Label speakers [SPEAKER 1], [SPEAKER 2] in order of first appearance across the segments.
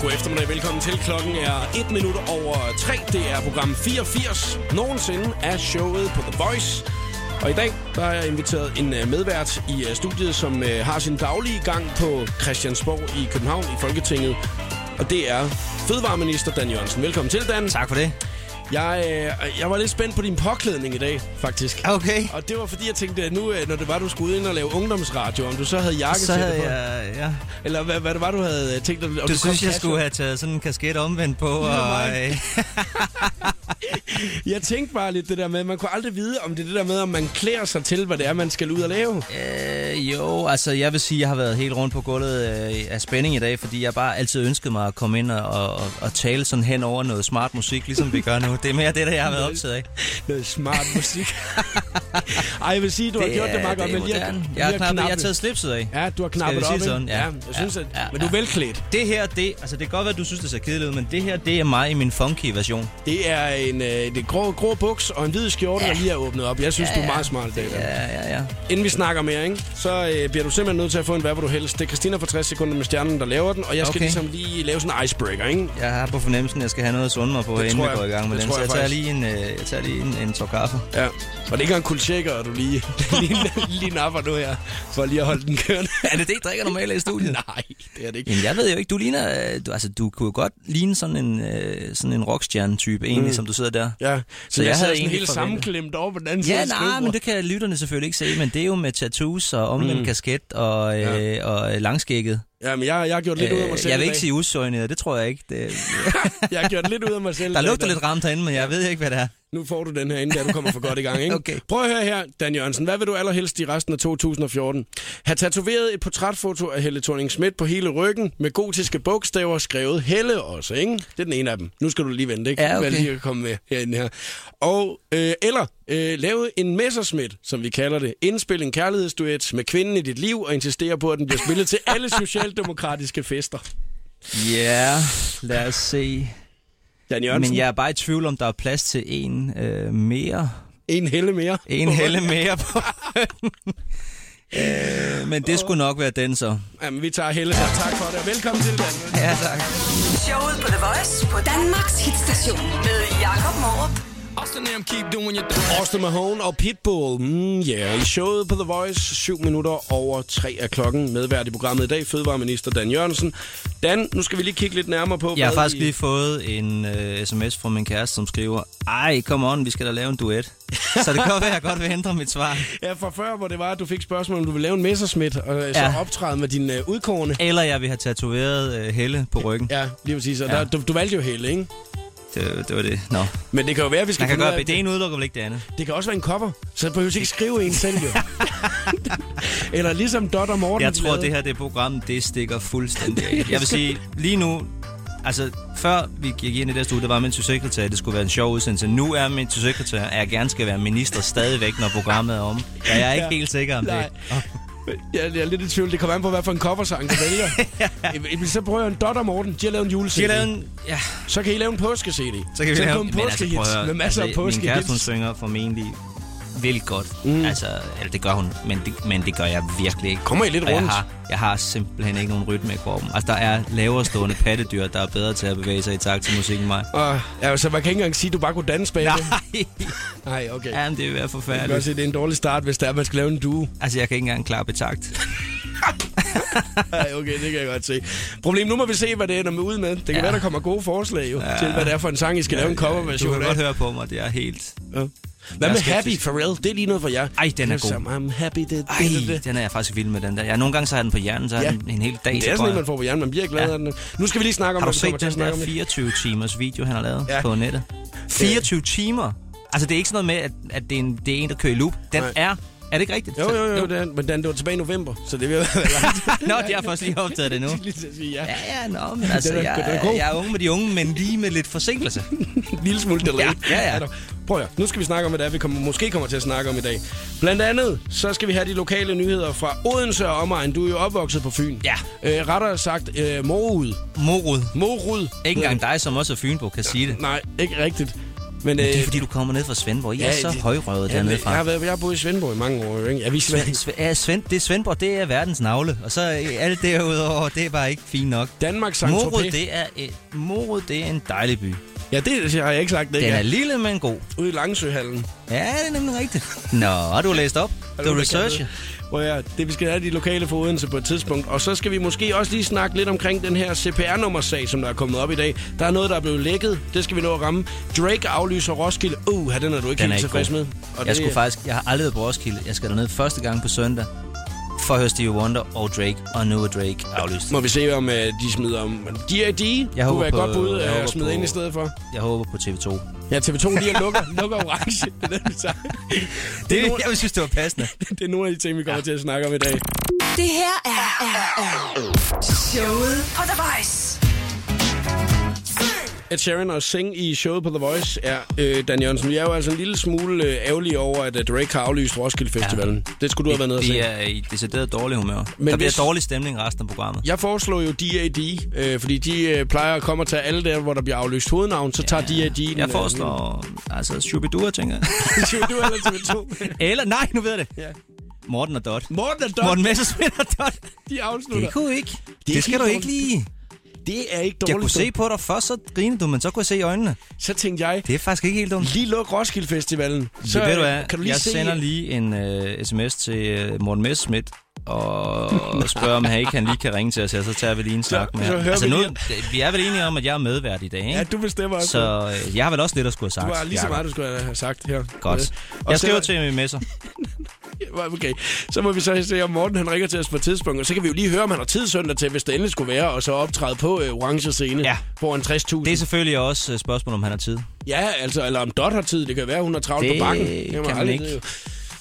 [SPEAKER 1] God eftermiddag, velkommen til. Klokken er 1 minut over 3. Det er program 84 nogensinde af showet på The Voice. Og i dag der har jeg inviteret en øh, medvært i øh, studiet, som øh, har sin daglige gang på Christiansborg i København i Folketinget. Og det er Fødevareminister Dan Jørgensen. Velkommen til, Dan.
[SPEAKER 2] Tak for det.
[SPEAKER 1] Jeg, øh, jeg var lidt spændt på din påklædning i dag, faktisk.
[SPEAKER 2] Okay.
[SPEAKER 1] Og det var fordi, jeg tænkte, at nu, øh, når det var, du skulle ind og lave ungdomsradio, om du så havde jakke
[SPEAKER 2] Så
[SPEAKER 1] til
[SPEAKER 2] havde
[SPEAKER 1] det på.
[SPEAKER 2] jeg, ja.
[SPEAKER 1] Eller hvad, hvad det var, du havde øh, tænkt dig? om
[SPEAKER 2] Du
[SPEAKER 1] kom
[SPEAKER 2] synes, jeg
[SPEAKER 1] casual?
[SPEAKER 2] skulle have taget sådan en kasket omvendt på, og
[SPEAKER 1] mig.
[SPEAKER 2] øh,
[SPEAKER 1] Jeg tænkte bare lidt det der med, man kunne aldrig vide, om det er det der med, om man klæder sig til, hvad det er, man skal ud og lave.
[SPEAKER 2] øh, jo, altså jeg vil sige, jeg har været helt rundt på gulvet øh, af spænding i dag, fordi jeg bare altid ønskede mig at komme ind og, og, og- og tale sådan hen over noget smart musik, ligesom vi gør nu. Det er mere det, der jeg har været optaget af.
[SPEAKER 1] Noget smart musik. Ej, jeg vil sige, du har gjort det meget godt, men lige at-
[SPEAKER 2] moderne.
[SPEAKER 1] lige
[SPEAKER 2] Jeg har,
[SPEAKER 1] at
[SPEAKER 2] knappet, jeg har
[SPEAKER 1] knappe-
[SPEAKER 2] taget slipset af.
[SPEAKER 1] Ja, du har knappet
[SPEAKER 2] vi
[SPEAKER 1] op,
[SPEAKER 2] sige
[SPEAKER 1] ikke?
[SPEAKER 2] sådan? Ja.
[SPEAKER 1] ja. jeg synes, at,
[SPEAKER 2] Ja, ja,
[SPEAKER 1] men du er
[SPEAKER 2] ja.
[SPEAKER 1] velklædt.
[SPEAKER 2] Det her, det, altså det kan godt være, at du synes, det ser kedeligt ud, men det her, det er mig i min funky version.
[SPEAKER 1] Det er en øh, det grå, grå buks og en hvid skjorte, ja. der lige er åbnet op. Jeg synes, ja, du er meget smart i dag. Dan.
[SPEAKER 2] Ja, ja, ja.
[SPEAKER 1] Inden vi snakker mere, ikke, så øh, bliver du simpelthen nødt til at få en hvad vil du helst. Det er Christina fra 60 sekunder med stjernen, der laver den, og jeg skal
[SPEAKER 2] Okay.
[SPEAKER 1] ligesom lige lave sådan en icebreaker, ikke?
[SPEAKER 2] Jeg har på fornemmelsen, at jeg skal have noget at sunde mig på,
[SPEAKER 1] Det
[SPEAKER 2] inden
[SPEAKER 1] tror
[SPEAKER 2] jeg
[SPEAKER 1] jeg.
[SPEAKER 2] går i gang med
[SPEAKER 1] Det
[SPEAKER 2] den.
[SPEAKER 1] tror
[SPEAKER 2] Så
[SPEAKER 1] jeg
[SPEAKER 2] jeg tager
[SPEAKER 1] faktisk.
[SPEAKER 2] lige en, øh, jeg tager lige en, en tår kaffe.
[SPEAKER 1] Ja, og det er ikke engang kuldsjekker, og du lige, lige, lige napper nu her, for lige at holde den kørende.
[SPEAKER 2] Er det det, I drikker normalt i studiet?
[SPEAKER 1] Nej, det er det ikke.
[SPEAKER 2] Jamen, jeg ved jo ikke, du ligner, øh, du, altså du kunne jo godt ligne sådan en, øh, sådan en rockstjerne-type egentlig, som du sidder der.
[SPEAKER 1] Mm. Ja, så, så jeg,
[SPEAKER 2] jeg
[SPEAKER 1] jeg havde
[SPEAKER 2] havde
[SPEAKER 1] sådan
[SPEAKER 2] egentlig
[SPEAKER 1] helt
[SPEAKER 2] forventet-
[SPEAKER 1] sammenklemt over på den anden side
[SPEAKER 2] Ja,
[SPEAKER 1] af
[SPEAKER 2] nej,
[SPEAKER 1] skrivebordet.
[SPEAKER 2] men det kan lytterne selvfølgelig ikke se, men det er jo med tattoos og omvendt mm. kasket og, øh, og øh, langskægget.
[SPEAKER 1] Ja, men jeg, jeg har gjort lidt ud af mig selv
[SPEAKER 2] Øh, jeg
[SPEAKER 1] i
[SPEAKER 2] vil ikke
[SPEAKER 1] dag.
[SPEAKER 2] sige usøgnet, det tror jeg ikke. Det,
[SPEAKER 1] Jeg har gjort lidt ud af mig selv.
[SPEAKER 2] der
[SPEAKER 1] i dag,
[SPEAKER 2] lugter
[SPEAKER 1] Dan.
[SPEAKER 2] lidt ramt herinde, men jeg ved ikke, hvad det er.
[SPEAKER 1] Nu får du den her, inden da du kommer for godt i gang, ikke?
[SPEAKER 2] Okay.
[SPEAKER 1] Prøv at høre her, Dan Jørgensen. Hvad vil du allerhelst i resten af 2014? Have tatoveret et portrætfoto af Helle thorning Schmidt på hele ryggen med gotiske bogstaver skrevet Helle også, ikke? Det er den ene af dem. Nu skal du lige vente, ikke?
[SPEAKER 2] Ja, okay.
[SPEAKER 1] Hvad lige kan komme med herinde her. Og, øh, eller øh, lave en messersmith, som vi kalder det. Indspil en kærlighedsduet med kvinden i dit liv og insistere på, at den bliver spillet til alle socialdemokratiske fester.
[SPEAKER 2] Ja, lad os se.
[SPEAKER 1] Dan Jørgensen,
[SPEAKER 2] Men jeg er bare i tvivl, om der er plads til en øh, mere.
[SPEAKER 1] en Helle mere.
[SPEAKER 2] En hælde mere på. øh, men det skulle nok være den så.
[SPEAKER 1] Jamen, vi tager Helle. her. Tak for det, og velkommen til, Dan Jørgensen.
[SPEAKER 2] Ja, tak.
[SPEAKER 3] Showet på The Voice på Danmarks hitstation med Jakob Morup.
[SPEAKER 1] Austin Mahone og Pitbull. Mm, yeah. I showet på The Voice, 7 minutter over 3 af klokken. Medvært i programmet i dag, Fødevareminister Dan Jørgensen. Dan, nu skal vi lige kigge lidt nærmere på,
[SPEAKER 2] Jeg har
[SPEAKER 1] hvad
[SPEAKER 2] faktisk
[SPEAKER 1] I-
[SPEAKER 2] lige fået en øh, sms fra min kæreste, som skriver, ej, come on, vi skal da lave en duet. Så det kan godt være, at jeg godt vil ændre mit svar.
[SPEAKER 1] Ja, fra før, hvor det var, at du fik spørgsmål, om du ville lave en messersmith, og øh, så
[SPEAKER 2] Ja.
[SPEAKER 1] optræde med din øh, udkårende.
[SPEAKER 2] Eller jeg vil have tatoveret øh, Helle på ryggen.
[SPEAKER 1] Ja, lige præcis. Og
[SPEAKER 2] Ja.
[SPEAKER 1] der, du, du valgte jo hele, ikke?
[SPEAKER 2] Det, det var det. Nå.
[SPEAKER 1] Men det kan jo være, at vi skal
[SPEAKER 2] Man kan
[SPEAKER 1] finde ud
[SPEAKER 2] godt,
[SPEAKER 1] af,
[SPEAKER 2] det ene udelukker vel ikke det andet.
[SPEAKER 1] det kan også være en cover, så behøver du ikke skrive en selv, jo. Eller ligesom Dot og Morten.
[SPEAKER 2] Jeg tror,
[SPEAKER 1] lavede.
[SPEAKER 2] det her det program, det stikker fuldstændig af. Jeg vil sige, lige nu, altså før vi gik ind i det her studie, der var min sekretær, det skulle være en sjov udsendelse. Nu er min sekretær, at jeg gerne skal være minister stadigvæk, når programmet er om. Ja, jeg er ikke
[SPEAKER 1] Ja.
[SPEAKER 2] helt sikker om
[SPEAKER 1] Nej.
[SPEAKER 2] det.
[SPEAKER 1] Jeg, jeg er lidt i tvivl. Det kommer an på, hvad for en coversang du vælger. Jamen, Så prøver jeg en Dot og Morten. De har lavet en
[SPEAKER 2] Skal
[SPEAKER 1] jule
[SPEAKER 2] jeg lave en... Ja,
[SPEAKER 1] Så kan I lave en påske-CD.
[SPEAKER 2] så kan vi
[SPEAKER 1] så
[SPEAKER 2] lave altså,
[SPEAKER 1] kom en påskehits
[SPEAKER 2] prøv at høre, altså,
[SPEAKER 1] med masser af
[SPEAKER 2] Min kæreste, hun
[SPEAKER 1] påskehits.
[SPEAKER 2] synger formentlig vildt godt. Mm. Altså, eller det gør hun, men det, men det gør jeg virkelig ikke.
[SPEAKER 1] Kommer I lidt
[SPEAKER 2] Og jeg
[SPEAKER 1] rundt?
[SPEAKER 2] har, jeg har simpelthen ikke nogen rytme i kroppen. Altså, der er lavere stående pattedyr, der er bedre til at bevæge sig i takt til musikken end mig.
[SPEAKER 1] Og, ja, så man kan ikke engang sige, at du bare kunne danse bag det.
[SPEAKER 2] Nej.
[SPEAKER 1] Nej, okay. Jeg
[SPEAKER 2] Jamen, det vil
[SPEAKER 1] kan
[SPEAKER 2] være
[SPEAKER 1] godt
[SPEAKER 2] forfærdeligt.
[SPEAKER 1] se, det er en dårlig start, hvis der er, man skal lave en duo.
[SPEAKER 2] Altså, jeg kan ikke engang klappe i takt.
[SPEAKER 1] Nej, okay, det kan jeg godt se. Problem, nu må vi se, hvad det ender med ud med. Det kan ja.
[SPEAKER 2] Ja.
[SPEAKER 1] være, der kommer gode forslag jo, ja. til, hvad det er for en sang, I skal ja, lave en
[SPEAKER 2] Du
[SPEAKER 1] coverversion
[SPEAKER 2] kan
[SPEAKER 1] af.
[SPEAKER 2] godt høre på mig, det er helt...
[SPEAKER 1] Ja. Hvad
[SPEAKER 2] Jeg
[SPEAKER 1] med
[SPEAKER 2] er
[SPEAKER 1] Happy,
[SPEAKER 2] skeptisk.
[SPEAKER 1] Pharrell? Det er lige noget for jer.
[SPEAKER 2] Ej, den er
[SPEAKER 1] Som
[SPEAKER 2] god.
[SPEAKER 1] I'm happy, det, det,
[SPEAKER 2] Ej,
[SPEAKER 1] det, det.
[SPEAKER 2] den er jeg faktisk vild med, den der. Jeg, nogle gange så har jeg den på hjernen, så har
[SPEAKER 1] Ja.
[SPEAKER 2] ja. den en hel dag.
[SPEAKER 1] Det
[SPEAKER 2] så
[SPEAKER 1] er
[SPEAKER 2] går
[SPEAKER 1] sådan en,
[SPEAKER 2] jeg-
[SPEAKER 1] man får på hjernen. Man bliver glad
[SPEAKER 2] Ja.
[SPEAKER 1] af den. Nu skal vi lige snakke om,
[SPEAKER 2] Har du
[SPEAKER 1] hvad vi kommer
[SPEAKER 2] set
[SPEAKER 1] til at
[SPEAKER 2] den
[SPEAKER 1] snakke
[SPEAKER 2] der
[SPEAKER 1] om.
[SPEAKER 2] 24-timers video, han har lavet
[SPEAKER 1] Ja.
[SPEAKER 2] ja. på nettet? 24 timer? Altså, det er ikke sådan noget med, at, at det, er en, det er en, der kører i loop. Den
[SPEAKER 1] Nej.
[SPEAKER 2] er... Er det ikke rigtigt?
[SPEAKER 1] Jo, jo, jo, det er, men den, det var tilbage i november, så det vil være
[SPEAKER 2] Nå, de har først lige optaget det nu.
[SPEAKER 1] lige til at sige ja.
[SPEAKER 2] Ja, ja, nå, men altså,
[SPEAKER 1] Den er-
[SPEAKER 2] jeg,
[SPEAKER 1] den er god.
[SPEAKER 2] jeg er unge med de unge, men lige med lidt forsinkelse.
[SPEAKER 1] en lille smule delay.
[SPEAKER 2] Ja, ja, ja.
[SPEAKER 1] Er der- Prøv at høre. nu skal vi snakke om, hvad det er, vi kommer, måske kommer til at snakke om i dag. Blandt andet, så skal vi have de lokale nyheder fra Odense og omegn. Du er jo opvokset på Fyn.
[SPEAKER 2] Ja.
[SPEAKER 1] Øh, rettere sagt, øh, Morud.
[SPEAKER 2] Morod.
[SPEAKER 1] Morud.
[SPEAKER 2] Ikke engang dig, som også er Fynbo, kan sige det.
[SPEAKER 1] Nej, ikke rigtigt. Men,
[SPEAKER 2] Det er
[SPEAKER 1] øh,
[SPEAKER 2] fordi, du kommer ned fra Svendborg. I ja, er så
[SPEAKER 1] det-
[SPEAKER 2] højrøvet
[SPEAKER 1] ja,
[SPEAKER 2] dernede
[SPEAKER 1] men
[SPEAKER 2] fra.
[SPEAKER 1] Jeg har, været, jeg har boet i Svendborg i mange år. jo, Ikke? Jeg vidste,
[SPEAKER 2] Svend, Svend, ja, Svend, det er Svendborg, det er verdens navle. Og så øh, alt derudover, det er bare ikke fint nok.
[SPEAKER 1] Danmarks Sankt
[SPEAKER 2] Morud, det er, et, Morud, det er en dejlig by.
[SPEAKER 1] Ja, det har jeg ikke sagt. Det,
[SPEAKER 2] Den
[SPEAKER 1] ikke
[SPEAKER 2] er
[SPEAKER 1] er.
[SPEAKER 2] lille, men god.
[SPEAKER 1] Ude i Langsøhallen.
[SPEAKER 2] Ja, det er nemlig rigtigt. Nå, har du læst op?
[SPEAKER 1] Er
[SPEAKER 2] Du
[SPEAKER 1] nogen, der kan
[SPEAKER 2] researcher.
[SPEAKER 1] det? Hvor jeg, det vi skal have de lokale for Odense på et tidspunkt. Og så skal vi måske også lige snakke lidt omkring den her CPR-nummersag, som der er kommet op i dag. Der er noget, der er blevet lækket. Det skal vi nå at ramme. Drake aflyser Roskilde. Uh, den er du ikke helt
[SPEAKER 2] Den er ikke
[SPEAKER 1] tilfreds
[SPEAKER 2] god.
[SPEAKER 1] med.
[SPEAKER 2] Og jeg
[SPEAKER 1] det-
[SPEAKER 2] skulle faktisk, jeg har aldrig været på Roskilde. Jeg skal derned første gang på søndag for at høre Stevie Wonder og Drake, og nu er Drake aflyst.
[SPEAKER 1] Må vi se, om øh, de smider om. D.I.D.
[SPEAKER 2] Jeg
[SPEAKER 1] kunne
[SPEAKER 2] håber
[SPEAKER 1] være
[SPEAKER 2] på-
[SPEAKER 1] godt bud
[SPEAKER 2] jeg
[SPEAKER 1] øh,
[SPEAKER 2] håber
[SPEAKER 1] at smide
[SPEAKER 2] på-
[SPEAKER 1] ind i stedet for.
[SPEAKER 2] Jeg håber på TV2.
[SPEAKER 1] Ja, TV2 lige lukker, lukker orange. Det er, det, vi tager. det, er
[SPEAKER 2] Det,
[SPEAKER 1] nogle,
[SPEAKER 2] jeg synes, det var passende.
[SPEAKER 1] det er nogle af de ting, vi kommer til at snakke om i dag.
[SPEAKER 3] Det her er, er, er showet på The Voice.
[SPEAKER 1] Ed Sheeran og Sing i showet på The Voice er øh, Dan Jørgensen. Vi er jo altså en lille smule øh, ærgerlige over, at øh, Drake har aflyst Roskilde Festivalen. Ja. Det skulle du have været nede og se.
[SPEAKER 2] Vi er i decideret dårlig humør. Men
[SPEAKER 1] Men
[SPEAKER 2] der bliver
[SPEAKER 1] hvis-
[SPEAKER 2] dårlig stemning resten af programmet.
[SPEAKER 1] Jeg foreslår jo D.A.D., øh, fordi de øh, plejer at komme og tage alle der, hvor der bliver aflyst hovednavn, så tager D.A.D. den,
[SPEAKER 2] Jeg
[SPEAKER 1] øh,
[SPEAKER 2] foreslår, altså, Shubidua, tænker jeg.
[SPEAKER 1] du eller TV2.
[SPEAKER 2] Eller, nej, nu ved jeg det.
[SPEAKER 1] ja.
[SPEAKER 2] Morten og Dot.
[SPEAKER 1] Morten og Dot,
[SPEAKER 2] Morten Messersmith og Dot.
[SPEAKER 1] de afslutter.
[SPEAKER 2] Det kunne ikke. Det,
[SPEAKER 1] ikke
[SPEAKER 2] skal
[SPEAKER 1] helt
[SPEAKER 2] du
[SPEAKER 1] dårligt.
[SPEAKER 2] ikke lige.
[SPEAKER 1] Det er ikke dårligt.
[SPEAKER 2] Jeg kunne se på dig først, så grinede du, men så kunne jeg se i øjnene.
[SPEAKER 1] Så tænkte jeg,
[SPEAKER 2] Det er faktisk ikke helt dumt.
[SPEAKER 1] lige luk Roskilde Festivalen.
[SPEAKER 2] Så, ved du hvad,
[SPEAKER 1] kan du lige
[SPEAKER 2] jeg
[SPEAKER 1] se...
[SPEAKER 2] sender lige en uh, sms til uh, Morten Messerschmidt og spørger, om han ikke han lige kan ringe til os her, så tager vi lige en snak med
[SPEAKER 1] så
[SPEAKER 2] ham. Altså,
[SPEAKER 1] hører vi
[SPEAKER 2] nu,
[SPEAKER 1] lige
[SPEAKER 2] vi er vel enige om, at jeg er medvært i dag, ikke?
[SPEAKER 1] Ja, du bestemmer også.
[SPEAKER 2] Så øh, jeg har vel også lidt at skulle have sagt.
[SPEAKER 1] Du har lige så
[SPEAKER 2] Jacob.
[SPEAKER 1] meget, du skulle have sagt her.
[SPEAKER 2] Godt.
[SPEAKER 1] Øh,
[SPEAKER 2] Jeg
[SPEAKER 1] så-
[SPEAKER 2] skriver til min messer.
[SPEAKER 1] Okay, så må vi så se, om Morten han ringer til os på et tidspunkt, og så kan vi jo lige høre, om han har tid søndag til, hvis det endelig skulle være, og så optræde på øh, orange scene
[SPEAKER 2] Ja.
[SPEAKER 1] foran 60.000.
[SPEAKER 2] Det er selvfølgelig også et spørgsmål, om han har tid.
[SPEAKER 1] Ja, altså, eller om Dot har tid. Det kan være, hun har travlt
[SPEAKER 2] Det
[SPEAKER 1] på bakken.
[SPEAKER 2] kan
[SPEAKER 1] man
[SPEAKER 2] man
[SPEAKER 1] aldrig
[SPEAKER 2] ikke.
[SPEAKER 1] vide, jo.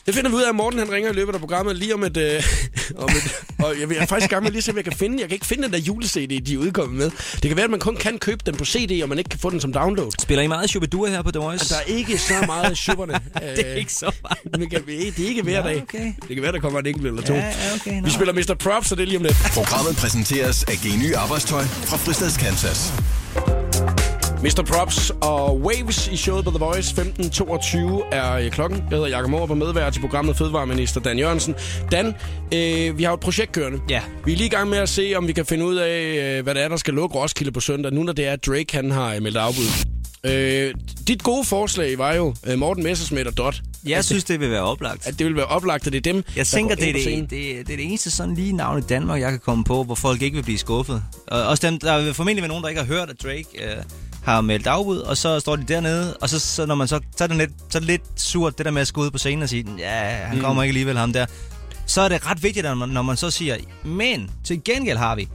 [SPEAKER 1] Det finder vi ud af, at Morten han ringer i løbet af programmet lige om et... Øh, om et og jeg, jeg er faktisk i gang med lige at se, om jeg kan finde... Jeg kan ikke finde den der jule-CD, de er udkommet med. Det kan være, at man kun kan købe den på CD, og man ikke kan få den som download.
[SPEAKER 2] Spiller I meget Shubidua her på The Voice?
[SPEAKER 1] Der er ikke så meget af schubberne.
[SPEAKER 2] det er ikke så meget.
[SPEAKER 1] Men kan vi, det er ikke hver
[SPEAKER 2] Nå,
[SPEAKER 1] dag.
[SPEAKER 2] okay.
[SPEAKER 1] Det kan være, der kommer en enkelt eller to.
[SPEAKER 2] Ja, ja, okay, nå.
[SPEAKER 1] vi spiller Mr. Props, så det er lige om lidt.
[SPEAKER 4] Programmet præsenteres af Geny Arbejdstøj fra Fristads Kansas.
[SPEAKER 1] Mr. Props og Waves i showet på The Voice 15.22 er øh, klokken. Jeg hedder Jakob Morup og medvært til programmet Fødevareminister Dan Jørgensen. Dan, øh, vi har jo et projekt kørende.
[SPEAKER 2] Ja.
[SPEAKER 1] Vi er lige i gang med at se, om vi kan finde ud af, øh, hvad det er, der skal lukke Roskilde på søndag, nu når det er, at Drake han har øh, meldt afbud. Øh, dit gode forslag var jo øh, Morten Messersmith og Dot,
[SPEAKER 2] Jeg synes, det vil være oplagt.
[SPEAKER 1] at det ville være oplagt, at det er dem,
[SPEAKER 2] Jeg
[SPEAKER 1] der
[SPEAKER 2] tænker,
[SPEAKER 1] går
[SPEAKER 2] det er
[SPEAKER 1] ind på
[SPEAKER 2] det,
[SPEAKER 1] scenen.
[SPEAKER 2] det, det er det eneste sådan lige navn i Danmark, jeg kan komme på, hvor folk ikke vil blive skuffet. Og også dem, der vil formentlig være nogen, der ikke har hørt, at Drake øh, har meldt afbud, og så står de dernede, og så, så når man så, så, er det lidt, så er det lidt surt, det der med at skulle ud på scenen og sige, ja, han
[SPEAKER 1] Mm.
[SPEAKER 2] kommer ikke alligevel, ham der. Så er det ret vigtigt, at man, når man så siger, men til gengæld har vi,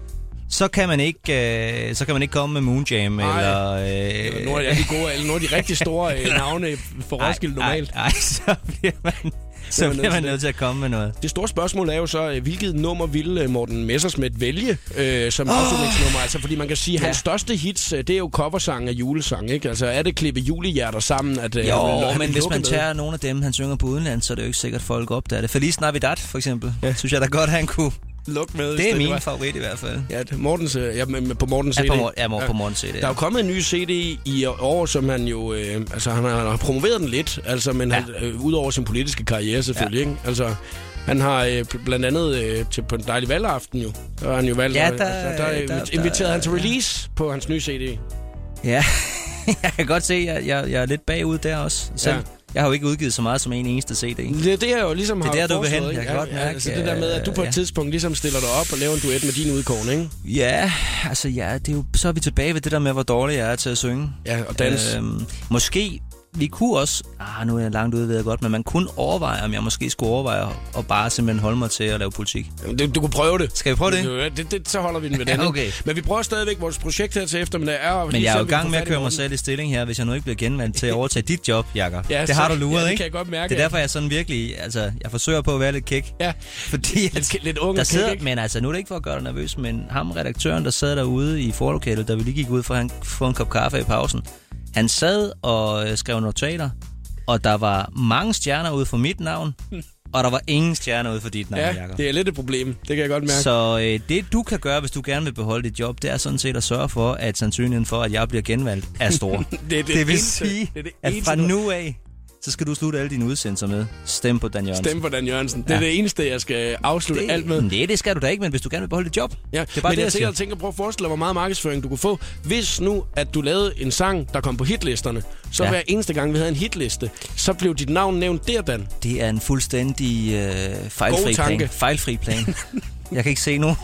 [SPEAKER 2] så kan man ikke, øh, så kan man ikke komme med Moonjam,
[SPEAKER 1] Nej.
[SPEAKER 2] eller...
[SPEAKER 1] Øh,
[SPEAKER 2] Øh,
[SPEAKER 1] Nogle af de gode, eller nogle af de rigtig store øh, navne for Roskilde normalt.
[SPEAKER 2] Nej, så bliver man,
[SPEAKER 1] er
[SPEAKER 2] så
[SPEAKER 1] man
[SPEAKER 2] bliver
[SPEAKER 1] nødt
[SPEAKER 2] man
[SPEAKER 1] til.
[SPEAKER 2] nødt til at komme med noget.
[SPEAKER 1] Det store spørgsmål er jo så, øh, hvilket nummer ville øh, Morten Messersmith vælge øh, som oh. afslutningsnummer? Altså, fordi man kan sige, at hans største hits, øh, det er jo coversange og julesange, ikke? Altså, er det klippe julehjerter sammen? At, øh, han vil-
[SPEAKER 2] Jo,
[SPEAKER 1] han
[SPEAKER 2] men
[SPEAKER 1] vil
[SPEAKER 2] hvis
[SPEAKER 1] lukke
[SPEAKER 2] man
[SPEAKER 1] med?
[SPEAKER 2] tager nogle af dem, han synger på udenland, så er det jo ikke sikkert, at folk opdager det. Feliz Navidad, for eksempel, ja. synes jeg da godt, han kunne.
[SPEAKER 1] Luk med. hvis
[SPEAKER 2] Det er
[SPEAKER 1] var-
[SPEAKER 2] min favorit i hvert fald.
[SPEAKER 1] Ja, det er Mortens, øh, ja, men- men på Mortens
[SPEAKER 2] Ja,
[SPEAKER 1] CD.
[SPEAKER 2] på, mor- ja, mor- på morgen CD.
[SPEAKER 1] Der er jo kommet en ny CD i år, som han jo... Øh, altså, han har, han har promoveret den lidt, altså, men ja. han, øh, ud over sin politiske karriere selvfølgelig, ja. ikke? Altså, han har øh, bl- blandt andet øh, til, på en dejlig valgaften jo, der har han jo valgt...
[SPEAKER 2] Ja,
[SPEAKER 1] altså,
[SPEAKER 2] der-
[SPEAKER 1] der, der,
[SPEAKER 2] der-
[SPEAKER 1] der inviterede han til release på hans nye CD.
[SPEAKER 2] Ja, jeg kan godt se, at jeg, jeg, jeg er lidt bagud der også. Selv.
[SPEAKER 1] Ja.
[SPEAKER 2] Ja. Jeg har jo ikke udgivet så meget som en eneste CD.
[SPEAKER 1] Det er det, jeg jo ligesom har
[SPEAKER 2] der, du vil
[SPEAKER 1] foreslået,
[SPEAKER 2] hen.
[SPEAKER 1] ikke?
[SPEAKER 2] Jeg kan
[SPEAKER 1] Ja,
[SPEAKER 2] godt
[SPEAKER 1] ja,
[SPEAKER 2] mærke,
[SPEAKER 1] altså, det der med, at du på et
[SPEAKER 2] øh, ja.
[SPEAKER 1] tidspunkt ligesom stiller dig op og laver en duet med din udkårne, ikke?
[SPEAKER 2] Ja, altså ja, det er jo, så er vi tilbage ved det der med, hvor dårlig jeg er til at synge.
[SPEAKER 1] Ja, og dans.
[SPEAKER 2] Øhm, måske, vi kunne også, ah, nu er jeg langt ude, ved jeg godt, men man kunne overveje, om jeg måske skulle overveje at bare simpelthen holde mig til at lave politik.
[SPEAKER 1] Jamen, Du, du kunne prøve det.
[SPEAKER 2] Skal vi prøve det?
[SPEAKER 1] det, det, det så holder vi den ved den. ikke?
[SPEAKER 2] okay.
[SPEAKER 1] Men vi prøver stadigvæk vores projekt her til eftermiddag. Er,
[SPEAKER 2] Men jeg er jo i
[SPEAKER 1] vi
[SPEAKER 2] gang
[SPEAKER 1] får
[SPEAKER 2] med at
[SPEAKER 1] fat i
[SPEAKER 2] køre mig
[SPEAKER 1] Morten.
[SPEAKER 2] selv i stilling her, hvis jeg nu ikke bliver genvalgt til at overtage dit job, Jakob.
[SPEAKER 1] Ja,
[SPEAKER 2] det
[SPEAKER 1] så-
[SPEAKER 2] har du
[SPEAKER 1] ja,
[SPEAKER 2] luret,
[SPEAKER 1] det
[SPEAKER 2] ikke?
[SPEAKER 1] kan jeg godt mærke,
[SPEAKER 2] Det er
[SPEAKER 1] ja.
[SPEAKER 2] derfor, jeg sådan virkelig, altså, jeg forsøger på at være lidt kæk.
[SPEAKER 1] Ja.
[SPEAKER 2] Fordi at,
[SPEAKER 1] Lidt- lidt ung og
[SPEAKER 2] der
[SPEAKER 1] kæk,
[SPEAKER 2] sidder,
[SPEAKER 1] ikke?
[SPEAKER 2] men altså, nu er det ikke for at gøre dig nervøs, men ham, redaktøren, der sad derude i forlokalet, da vi lige gik ud for, han, for en kop kaffe i pausen, han sad og øh, skrev notater, og der var mange stjerner ude for mit navn, og der var ingen stjerner ude for dit navn,
[SPEAKER 1] Ja,
[SPEAKER 2] Jacob.
[SPEAKER 1] det er lidt et problem. Det kan jeg godt mærke. Så.
[SPEAKER 2] Så øh, det, du kan gøre, hvis du gerne vil beholde dit job, det er sådan set at sørge for, at sandsynligheden for, at jeg bliver genvalgt, er stor.
[SPEAKER 1] Det er det
[SPEAKER 2] det vil
[SPEAKER 1] eneste-
[SPEAKER 2] sige,
[SPEAKER 1] det er det
[SPEAKER 2] at
[SPEAKER 1] eneste,
[SPEAKER 2] fra
[SPEAKER 1] du-
[SPEAKER 2] nu af, så skal du slutte alle dine udsendelser med. Stem på Dan Jørgensen.
[SPEAKER 1] Stem på Dan Jørgensen. Det er
[SPEAKER 2] Ja.
[SPEAKER 1] det eneste, jeg skal afslutte det... alt med.
[SPEAKER 2] Nej, det skal du da ikke, men hvis du gerne vil beholde dit job.
[SPEAKER 1] Ja,
[SPEAKER 2] det er
[SPEAKER 1] men
[SPEAKER 2] bare det,
[SPEAKER 1] jeg
[SPEAKER 2] jeg
[SPEAKER 1] sidder
[SPEAKER 2] siger.
[SPEAKER 1] og tænker, prøv at forestille dig, hvor meget markedsføring du kunne få, hvis nu, at du lavede en sang, der kom på hitlisterne. Så ja.
[SPEAKER 2] Ja.
[SPEAKER 1] hver eneste gang, vi havde en hitliste, så blev dit navn nævnt der, Dan.
[SPEAKER 2] Det er en fuldstændig øh,
[SPEAKER 1] God
[SPEAKER 2] fejlfri
[SPEAKER 1] tanke.
[SPEAKER 2] plan. Fejlfri plan. jeg kan ikke se nogen.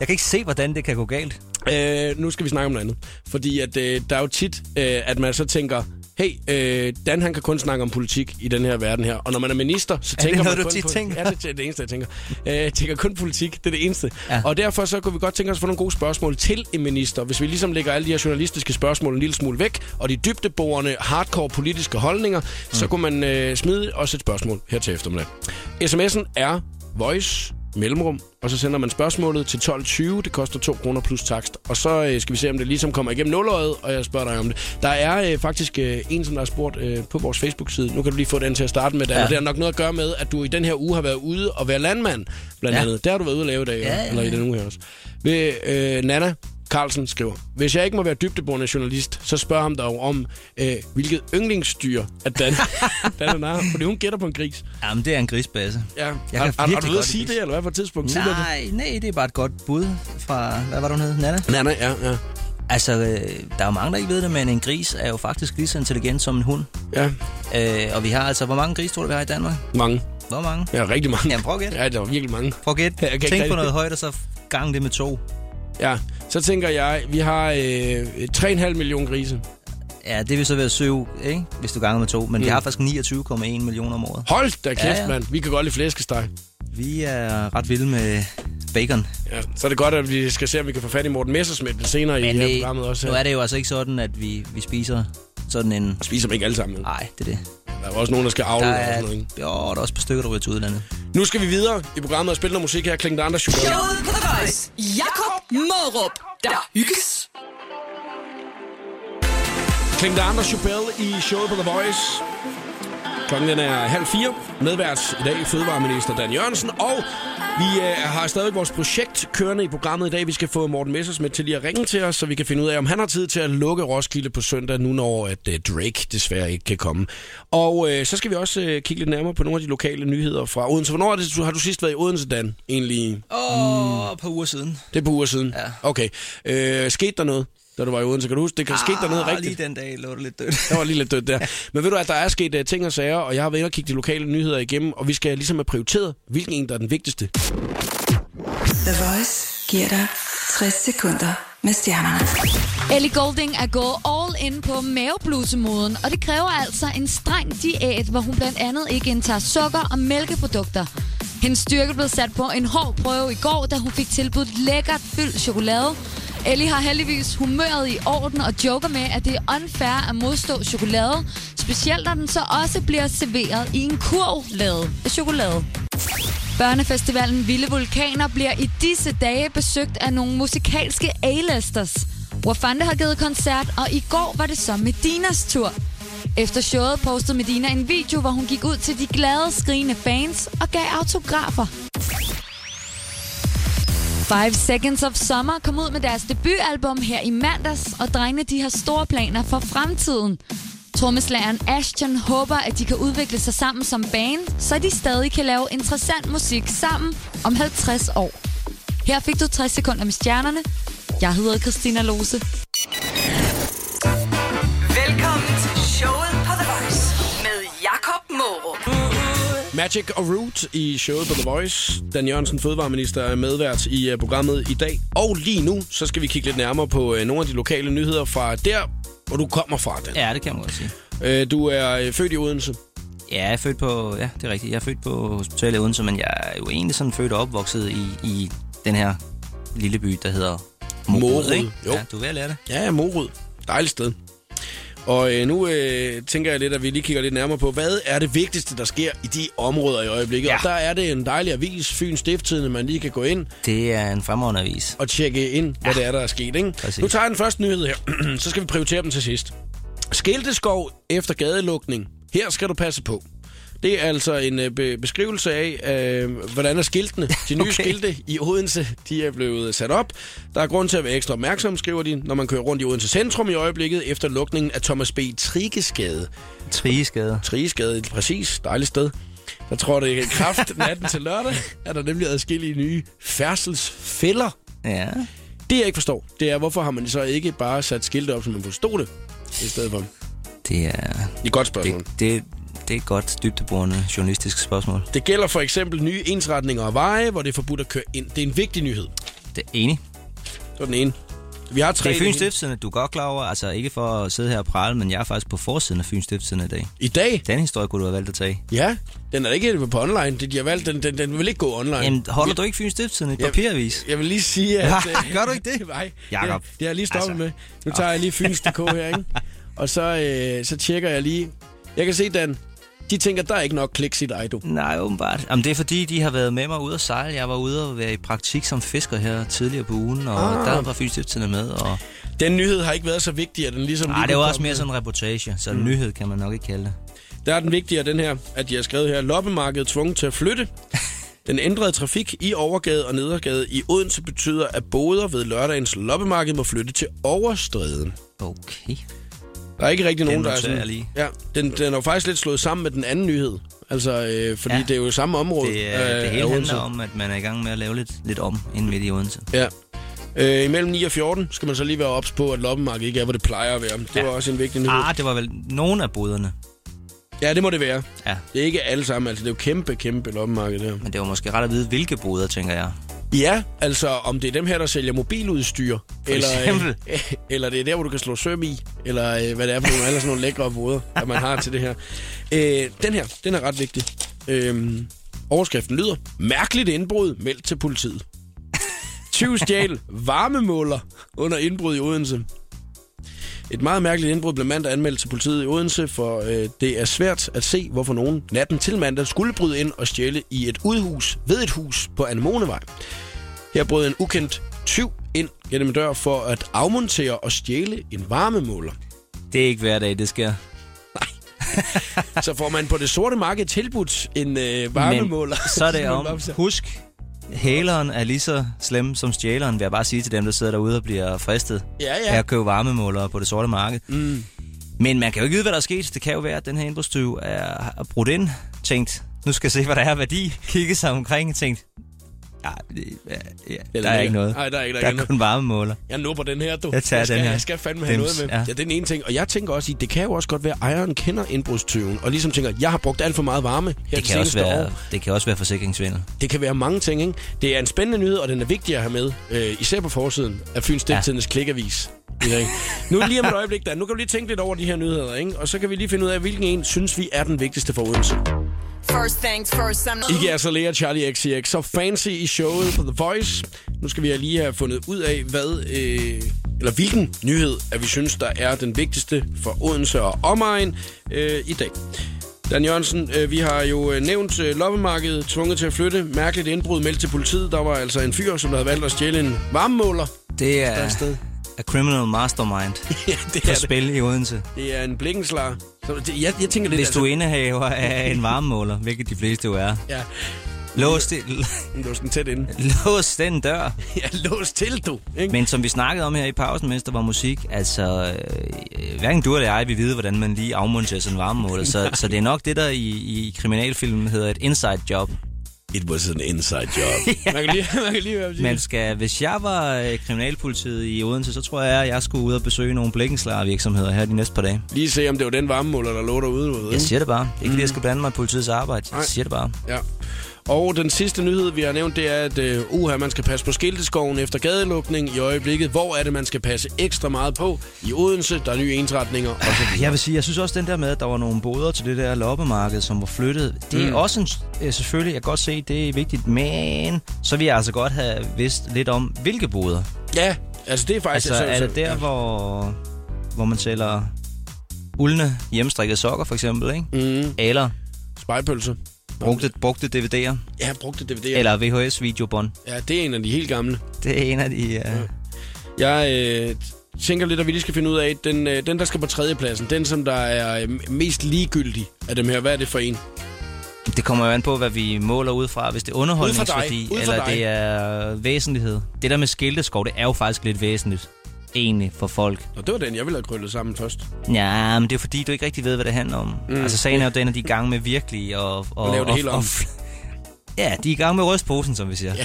[SPEAKER 2] Jeg kan ikke se, hvordan det kan gå galt.
[SPEAKER 1] Øh, nu skal vi snakke om noget andet. Fordi at, øh, der er jo tit, øh, at man så tænker, hey, øh, Dan han kan kun snakke om politik i den her verden her. Og når man er minister, så
[SPEAKER 2] Er det
[SPEAKER 1] tænker man
[SPEAKER 2] noget, du
[SPEAKER 1] kun
[SPEAKER 2] tit
[SPEAKER 1] på,
[SPEAKER 2] tænker?
[SPEAKER 1] Ja, det er det eneste, jeg tænker. Øh, jeg tænker kun politik, det er det eneste. Ja.
[SPEAKER 2] Ja.
[SPEAKER 1] Og derfor så kunne vi godt tænke os at få nogle gode spørgsmål til en minister. Hvis vi ligesom lægger alle de her journalistiske spørgsmål en lille smule væk, og de dybdeborende, hardcore politiske holdninger, mm. så kunne man øh, smide os et spørgsmål her til eftermiddag. SMS'en er voice mellemrum, og så sender man spørgsmålet til 12.20. Det koster 2 kroner plus takst. Og så øh, skal vi se, om det ligesom kommer igennem nulåret, og jeg spørger dig om det. Der er øh, faktisk øh, en, som der har spurgt øh, på vores Facebook-side. Nu kan du lige få den til at starte med. Der.
[SPEAKER 2] Ja.
[SPEAKER 1] Ja. Det har nok noget at gøre med, at du i den her uge har været ude og været landmand, blandt ja.
[SPEAKER 2] Ja.
[SPEAKER 1] andet. Det har du været ude at lave i dag, ja,
[SPEAKER 2] Ja,
[SPEAKER 1] ja.
[SPEAKER 2] ja,
[SPEAKER 1] eller i den uge her også. Ved, øh, Nana Carlsen skriver, Hvis jeg ikke må være dybdeborende journalist, så spørg ham dog om, øh, hvilket yndlingsdyr at Dan, Dan er nar, fordi hun gætter på en gris.
[SPEAKER 2] Jamen, det er en grisbasse.
[SPEAKER 1] Ja. Jeg
[SPEAKER 2] kan
[SPEAKER 1] har, har, har
[SPEAKER 2] virkelig
[SPEAKER 1] du ved at
[SPEAKER 2] godt
[SPEAKER 1] sige
[SPEAKER 2] lide
[SPEAKER 1] det,
[SPEAKER 2] gris.
[SPEAKER 1] eller hvad på et tidspunkt? tidligere?
[SPEAKER 2] Nej, nej, det er bare et godt bud fra... Hvad var det, hun hed? Nana?
[SPEAKER 1] Nana, ja, ja.
[SPEAKER 2] Altså, øh, der er jo mange, der ikke ved det, men en gris er jo faktisk lige så intelligent som en hund.
[SPEAKER 1] Ja,
[SPEAKER 2] Øh, og vi har altså... Hvor mange grise tror du, vi har i Danmark?
[SPEAKER 1] mange.
[SPEAKER 2] Hvor mange?
[SPEAKER 1] Ja, rigtig mange.
[SPEAKER 2] Jamen, prøv at gætte.
[SPEAKER 1] Ja, der var virkelig mange.
[SPEAKER 2] Prøv at
[SPEAKER 1] Jeg kan
[SPEAKER 2] gætte.
[SPEAKER 1] ikke
[SPEAKER 2] Tænk på
[SPEAKER 1] rigtig-
[SPEAKER 2] noget højt, og så gang det med to.
[SPEAKER 1] Ja, så tænker jeg, vi har øh, 3,5 millioner grise.
[SPEAKER 2] Ja, det vil så være syv, ikke? hvis du ganger med to. Men mm. vi har faktisk 29,1 millioner om året.
[SPEAKER 1] Hold da kæft, ja,
[SPEAKER 2] Ja,
[SPEAKER 1] ja.
[SPEAKER 2] ja.
[SPEAKER 1] mand. Vi kan godt lide flæskesteg.
[SPEAKER 2] Vi er ret vilde med bacon.
[SPEAKER 1] Ja, så er det godt, at vi skal se, om vi kan få fat i Morten Messersmith lidt senere i
[SPEAKER 2] Men
[SPEAKER 1] det her
[SPEAKER 2] det,
[SPEAKER 1] programmet også.
[SPEAKER 2] Øh, nu er det jo altså ikke sådan, at vi, vi spiser sådan en...
[SPEAKER 1] Spiser dem ikke alle sammen.
[SPEAKER 2] Nej, det er det.
[SPEAKER 1] Der er jo også nogen, Ah. der skal afle
[SPEAKER 2] Der
[SPEAKER 1] og
[SPEAKER 2] er,
[SPEAKER 1] sådan noget. ikke?
[SPEAKER 2] jo, der er også et par stykker, der ryger til udlandet.
[SPEAKER 1] Nu skal vi videre i programmet og spille noget musik her. Klingt Anders Show.
[SPEAKER 3] Showet på The Voice. Jakob Morup. Der hygges.
[SPEAKER 1] Klingt Anders Chubel i showet på The Voice. Klokken den er halv fire. Medvært i dag fødevareminister Dan Jørgensen. Og vi øh, har stadig vores projekt kørende i programmet i dag. Vi skal få Morten Messersmith til lige at ringe til os, så vi kan finde ud af, om han har tid til at lukke Roskilde på søndag, nu når at øh, Drake desværre ikke kan komme. Og øh, så skal vi også øh, kigge lidt nærmere på nogle af de lokale nyheder fra Odense. Hvornår er det, du, har du sidst været i Odense, Dan? Egentlig,
[SPEAKER 2] Åh, oh, et par uger siden.
[SPEAKER 1] det er på uger siden.
[SPEAKER 2] Ja.
[SPEAKER 1] Okay. Øh, skete der noget, da du var i Odense? Kan du huske, det kan ah, skete der noget rigtigt?
[SPEAKER 2] Lige den dag lå det lidt dødt.
[SPEAKER 1] Der var lige lidt dødt der. Men ved du at der er sket uh, ting og sager, og jeg har været inde og kigge de lokale nyheder igennem, og vi skal ligesom have prioriteret, hvilken en, der er den vigtigste.
[SPEAKER 5] The Voice giver dig 60 sekunder med stjernerne.
[SPEAKER 6] Ellie Golding er gået all in på maveblusemoden, og det kræver altså en streng diæt, hvor hun blandt andet ikke indtager sukker og mælkeprodukter. Hendes styrke blev sat på en hård prøve i går, da hun fik tilbudt lækkert fyldt chokolade. Ellie har heldigvis humøret i orden og joker med, at det er unfair at modstå chokolade, specielt når den så også bliver serveret i en kurv lavet af chokolade. Børnefestivalen Vilde Vulkaner bliver i disse dage besøgt af nogle musikalske A-listers. Wafande har givet koncert, og i går var det så Medinas tur. Efter showet postede Medina en video, hvor hun gik ud til de glade, skrigende fans og gav autografer. Five Seconds of Summer kom ud med deres debutalbum her i mandags, og drengene de har store planer for fremtiden. Trommeslageren Ashton håber, at de kan udvikle sig sammen som band, så de stadig kan lave interessant musik sammen om 50 år. Her fik du 60 sekunder med stjernerne. Jeg hedder Christina Lose.
[SPEAKER 3] Velkommen til showet på The Voice. Med Jakob Morup.
[SPEAKER 1] Magic og Root i showet på The Voice. Dan Jørgensen, fødevareminister, er medvært i øh, programmet i dag. Og lige nu, så skal vi kigge lidt nærmere på øh, nogle af de lokale nyheder fra der, hvor du kommer fra, Dan.
[SPEAKER 2] ja, det kan man godt sige.
[SPEAKER 1] Øh, Du er øh, født i Odense.
[SPEAKER 2] Ja, jeg er født på, ja, det er rigtigt. Jeg er født på hospitalet i Odense, men jeg er jo egentlig sådan født og opvokset i, i den her lille by, der hedder
[SPEAKER 1] Morud,
[SPEAKER 2] Morud, ikke?
[SPEAKER 1] jo.
[SPEAKER 2] Ja, du er ved at lære det.
[SPEAKER 1] Ja, Morud. Dejligt sted. Og øh, nu øh, tænker jeg lidt, at vi lige kigger lidt nærmere på, hvad er det vigtigste, der sker i de områder i øjeblikket? Ja.
[SPEAKER 2] Ja.
[SPEAKER 1] Og der er det en dejlig avis, Fyn Stifttidende, man lige kan gå ind
[SPEAKER 2] Det er en fremragende avis.
[SPEAKER 1] og tjekke ind, hvad ja. det er, der er sket. Ikke?
[SPEAKER 2] Præcis.
[SPEAKER 1] Nu tager jeg den første nyhed her, så skal vi prioritere dem til sidst. Skilteskov efter gadelukning. Her skal du passe på. Det er altså en øh, be- beskrivelse af, øh, hvordan er skiltene. De nye okay. skilte i Odense, de er blevet sat op. Der er grund til at være ekstra opmærksom, skriver de, når man kører rundt i Odense Centrum i øjeblikket, efter lukningen af Thomas B. Trigeskade.
[SPEAKER 2] Trigeskade.
[SPEAKER 1] Trigeskade, præcis. Dejligt sted. Der tror det i kraft natten til lørdag, er der nemlig adskillige nye færdselsfælder.
[SPEAKER 2] Ja.
[SPEAKER 1] Det jeg ikke forstår, det er, hvorfor har man så ikke bare sat skilte op, så man forstod det, i stedet for.
[SPEAKER 2] Det
[SPEAKER 1] Det
[SPEAKER 2] er...
[SPEAKER 1] er et godt spørgsmål.
[SPEAKER 2] Det, det, det er et godt dybdeborende journalistisk spørgsmål.
[SPEAKER 1] Det gælder for eksempel nye ensretninger af veje, hvor det er forbudt at køre ind. Det er en vigtig nyhed.
[SPEAKER 2] Det er enig.
[SPEAKER 1] Det var den ene. Vi har tre
[SPEAKER 2] Det er Fyns
[SPEAKER 1] nyheder.
[SPEAKER 2] Stiftstidende, du er godt klar over. Altså ikke for at sidde her og prale, men jeg er faktisk på forsiden af Fyns Stiftstidende i dag.
[SPEAKER 1] I dag?
[SPEAKER 2] Den historie kunne du have valgt at tage.
[SPEAKER 1] Ja. Den er ikke på online. Det, de har valgt, den, den, den vil ikke gå online.
[SPEAKER 2] Jamen, holder du ikke Fyns Stiftstidende i
[SPEAKER 1] Jamen,
[SPEAKER 2] papiravis?
[SPEAKER 1] Jeg vil lige sige, at... øh,
[SPEAKER 2] Gør du ikke det?
[SPEAKER 1] Nej.
[SPEAKER 2] Jakob.
[SPEAKER 1] Det, det er jeg lige stoppet
[SPEAKER 2] Altså.
[SPEAKER 1] altså. med. Nu tager jeg lige Fyns.dk her, ikke? Og så, øh, så tjekker jeg lige. Jeg kan se, Dan, de tænker, der er ikke nok kliks i dig, du.
[SPEAKER 2] Nej, åbenbart. Jamen, det er fordi, de har været med mig ude at sejle. Jeg var ude og være i praktik som fisker her tidligere på ugen, og ah. der var Fyns Stiftstidende med. Og...
[SPEAKER 1] Den nyhed har ikke været så vigtig, at den ligesom...
[SPEAKER 2] Nej,
[SPEAKER 1] lige
[SPEAKER 2] det
[SPEAKER 1] kunne
[SPEAKER 2] var også
[SPEAKER 1] komme
[SPEAKER 2] mere
[SPEAKER 1] med.
[SPEAKER 2] sådan en reportage, så en nyhed kan man nok ikke kalde det.
[SPEAKER 1] Der er den vigtigere, den her, at jeg har skrevet her. Loppemarkedet tvunget til at flytte. Den ændrede trafik i Overgade og Nedergade i Odense betyder, at boder ved lørdagens loppemarked må flytte til Overstræden.
[SPEAKER 2] Okay.
[SPEAKER 1] Der er ikke rigtig nogen, der er
[SPEAKER 2] noterer
[SPEAKER 1] sådan...
[SPEAKER 2] jeg lige.
[SPEAKER 1] Ja, den, den er jo faktisk lidt slået sammen med den anden nyhed. Altså, øh, fordi ja.
[SPEAKER 2] Ja.
[SPEAKER 1] det er jo samme område.
[SPEAKER 2] Det, øh, det
[SPEAKER 1] af
[SPEAKER 2] hele handler
[SPEAKER 1] Odense.
[SPEAKER 2] om, at man er i gang med at lave lidt, lidt om inden midt i Odense.
[SPEAKER 1] Ja. Øh, imellem 9 og 14 skal man så lige være ops på, at loppemarkedet ikke er, hvor det plejer at være. Det ja.
[SPEAKER 2] Ja.
[SPEAKER 1] var også en vigtig nyhed. Ah.
[SPEAKER 2] Ah, det var vel nogen af boderne.
[SPEAKER 1] Ja, det må det være.
[SPEAKER 2] Ja,
[SPEAKER 1] Det er ikke alle sammen, altså det er jo kæmpe, kæmpe loppemarked der.
[SPEAKER 2] men det var måske ret at vide, hvilke boder, tænker jeg.
[SPEAKER 1] Ja, altså om det er dem her, der sælger mobiludstyr. For
[SPEAKER 2] eksempel.
[SPEAKER 1] Øh, eller det er der, hvor du kan slå søm i. Eller øh, hvad det er for nogle, alle sådan nogle lækre våder, at man har til det her. Øh, den her, den er ret vigtig. Øh, overskriften lyder, mærkeligt indbrud meldt til politiet. 20 stjæl varmemåler under indbrud i Odense. Et meget mærkeligt indbrud blev mandag anmeldt til politiet i Odense, for øh, det er svært at se, hvorfor nogen natten til mandag skulle bryde ind og stjæle i et udhus ved et hus på Anemonevej. Her brød en ukendt tyv ind gennem en dør for at afmontere og stjæle en varmemåler.
[SPEAKER 2] Det er ikke hver dag, det sker.
[SPEAKER 1] Så får man på det sorte marked tilbudt en øh, varmemåler.
[SPEAKER 2] Men så er det
[SPEAKER 1] kan man
[SPEAKER 2] om,
[SPEAKER 1] op-
[SPEAKER 2] husk, hæleren er lige så slem som stjæleren, vil jeg bare sige til dem, der sidder derude og bliver fristet
[SPEAKER 1] Ja,
[SPEAKER 2] af
[SPEAKER 1] ja.
[SPEAKER 2] at købe varmemålere på det sorte marked.
[SPEAKER 1] Mm.
[SPEAKER 2] Men man kan jo ikke vide, hvad der er sket. Det kan jo være, at den her indbrudstyv er har brudt ind, tænkt, nu skal jeg se, hvad der er af værdi, kigge sig omkring, tænkt, ja, det- ja, ja, der er ikke noget.
[SPEAKER 1] Nej, der er ikke, der
[SPEAKER 2] Der
[SPEAKER 1] er
[SPEAKER 2] er
[SPEAKER 1] ikke
[SPEAKER 2] kun varmemåler.
[SPEAKER 1] Jeg nupper den her, du.
[SPEAKER 2] Jeg tager
[SPEAKER 1] skal,
[SPEAKER 2] den her.
[SPEAKER 1] Jeg skal fandme have
[SPEAKER 2] Dims,
[SPEAKER 1] noget med. Ja.
[SPEAKER 2] ja.
[SPEAKER 1] ja, det er den ene ting. Og jeg tænker også i, det kan jo også godt være, at ejeren kender indbrudstyven, og ligesom tænker, jeg har brugt alt for meget varme her
[SPEAKER 2] Det
[SPEAKER 1] de
[SPEAKER 2] kan, også
[SPEAKER 1] seneste
[SPEAKER 2] være,
[SPEAKER 1] år.
[SPEAKER 2] det kan også være forsikringsvindel.
[SPEAKER 1] Det kan være mange ting, ikke? Det er en spændende nyhed, og den er vigtig at have med, øh, især på forsiden af Fyns Stiftstidens ja. klikavis. i dag. nu lige om et øjeblik, der. Nu kan du lige tænke lidt over de her nyheder, ikke? Og så kan vi lige finde ud af, hvilken en synes vi er den vigtigste for Odense.
[SPEAKER 3] First things first, I'm
[SPEAKER 1] Ikke altså Lea Charlie XCX, så fancy i showet på The Voice. Nu skal vi lige have fundet ud af, hvad, øh, eller hvilken nyhed, at vi synes, der er den vigtigste for Odense og omegn øh, i dag. Dan Jørgensen, øh, vi har jo øh, nævnt øh, loppemarkedet, tvunget til at flytte, mærkeligt indbrud meldt til politiet. Der var altså en fyr, som havde valgt at stjæle en varmemåler.
[SPEAKER 2] Det
[SPEAKER 1] Der er et
[SPEAKER 2] er
[SPEAKER 1] sted.
[SPEAKER 2] a criminal mastermind
[SPEAKER 1] ja, det
[SPEAKER 2] på
[SPEAKER 1] er, det.
[SPEAKER 2] spil i Odense.
[SPEAKER 1] det er en blikkenslar. Så det, jeg, jeg tænker lidt...
[SPEAKER 2] Hvis du er indehaver af en varmemåler, hvilket de fleste jo er,
[SPEAKER 1] altså, Ja,
[SPEAKER 2] lås, det,
[SPEAKER 1] den lå sådan tæt inde.
[SPEAKER 2] lås den dør.
[SPEAKER 1] Ja, lås til, du. Ikke?
[SPEAKER 2] Men som vi snakkede om her i pausen, mens der var musik, altså øh, hverken du eller jeg vil vide, hvordan man lige afmonterer sådan en varmemåler. Så, så det er nok det, der i, i kriminalfilmen hedder et inside job.
[SPEAKER 1] It was an inside job. man, kan lige, man kan lige høre, hvad de
[SPEAKER 2] Man skal, hvis jeg var øh, kriminalpolitiet i Odense, så tror jeg, at jeg skulle ud og besøge nogle blikkenslare virksomheder her de næste par dage.
[SPEAKER 1] Lige se, om det var den varmemåler, der lå derude. du ved,
[SPEAKER 2] Jeg
[SPEAKER 1] ikke?
[SPEAKER 2] siger det bare. Ikke fordi jeg skal blande mig i politiets arbejde.
[SPEAKER 1] Nej.
[SPEAKER 2] Jeg siger det bare.
[SPEAKER 1] Ja. Og den sidste nyhed, vi har nævnt, det er, at øh, uha, man skal passe på skilteskoven efter gadelukning i øjeblikket. Hvor er det, man skal passe ekstra meget på? I Odense, der er nye ensretninger. Og så...
[SPEAKER 2] Jeg vil sige, jeg synes også den der med, at der var nogle boder til det der loppemarked, som var flyttet. Det er mm. også en, øh, selvfølgelig, jeg kan godt se, det er vigtigt, men så vil jeg altså godt have vidst lidt om, hvilke boder.
[SPEAKER 1] Ja, altså det er faktisk...
[SPEAKER 2] Altså er
[SPEAKER 1] så-
[SPEAKER 2] det der,
[SPEAKER 1] ja.
[SPEAKER 2] hvor, hvor man sælger uldne hjemmestrikkede sokker for eksempel, ikke?
[SPEAKER 1] Mm,
[SPEAKER 2] Eller
[SPEAKER 1] spejpølse.
[SPEAKER 2] brugte, brugte DVD'er,
[SPEAKER 1] Ja, brugte DVD'er.
[SPEAKER 2] eller VHS-videobånd.
[SPEAKER 1] Ja, det er en af de helt gamle.
[SPEAKER 2] Det er en af de... Øh,
[SPEAKER 1] Jeg øh, tænker lidt, at vi lige skal finde ud af, den, øh, den der skal på tredjepladsen, den som der er øh, mest ligegyldig af dem her, hvad er det for en?
[SPEAKER 2] Det kommer jo an på, hvad vi måler ud fra. Hvis det er underholdningsværdi,
[SPEAKER 1] Ud fra dig. Ud fra
[SPEAKER 2] eller
[SPEAKER 1] dig.
[SPEAKER 2] det er væsentlighed. Det der med skilteskov, det er jo faktisk lidt væsentligt. Egentlig for folk.
[SPEAKER 1] Og det var den, jeg ville have krøllet sammen først.
[SPEAKER 2] Ja, men det er fordi, du ikke rigtig ved, hvad det handler om. Mm. Altså sagen er jo den, at de er i gang med virkelig og... Og,
[SPEAKER 1] lave det
[SPEAKER 2] og,
[SPEAKER 1] hele om.
[SPEAKER 2] og, Ja, de er i gang med rystposen, som vi siger. Ja,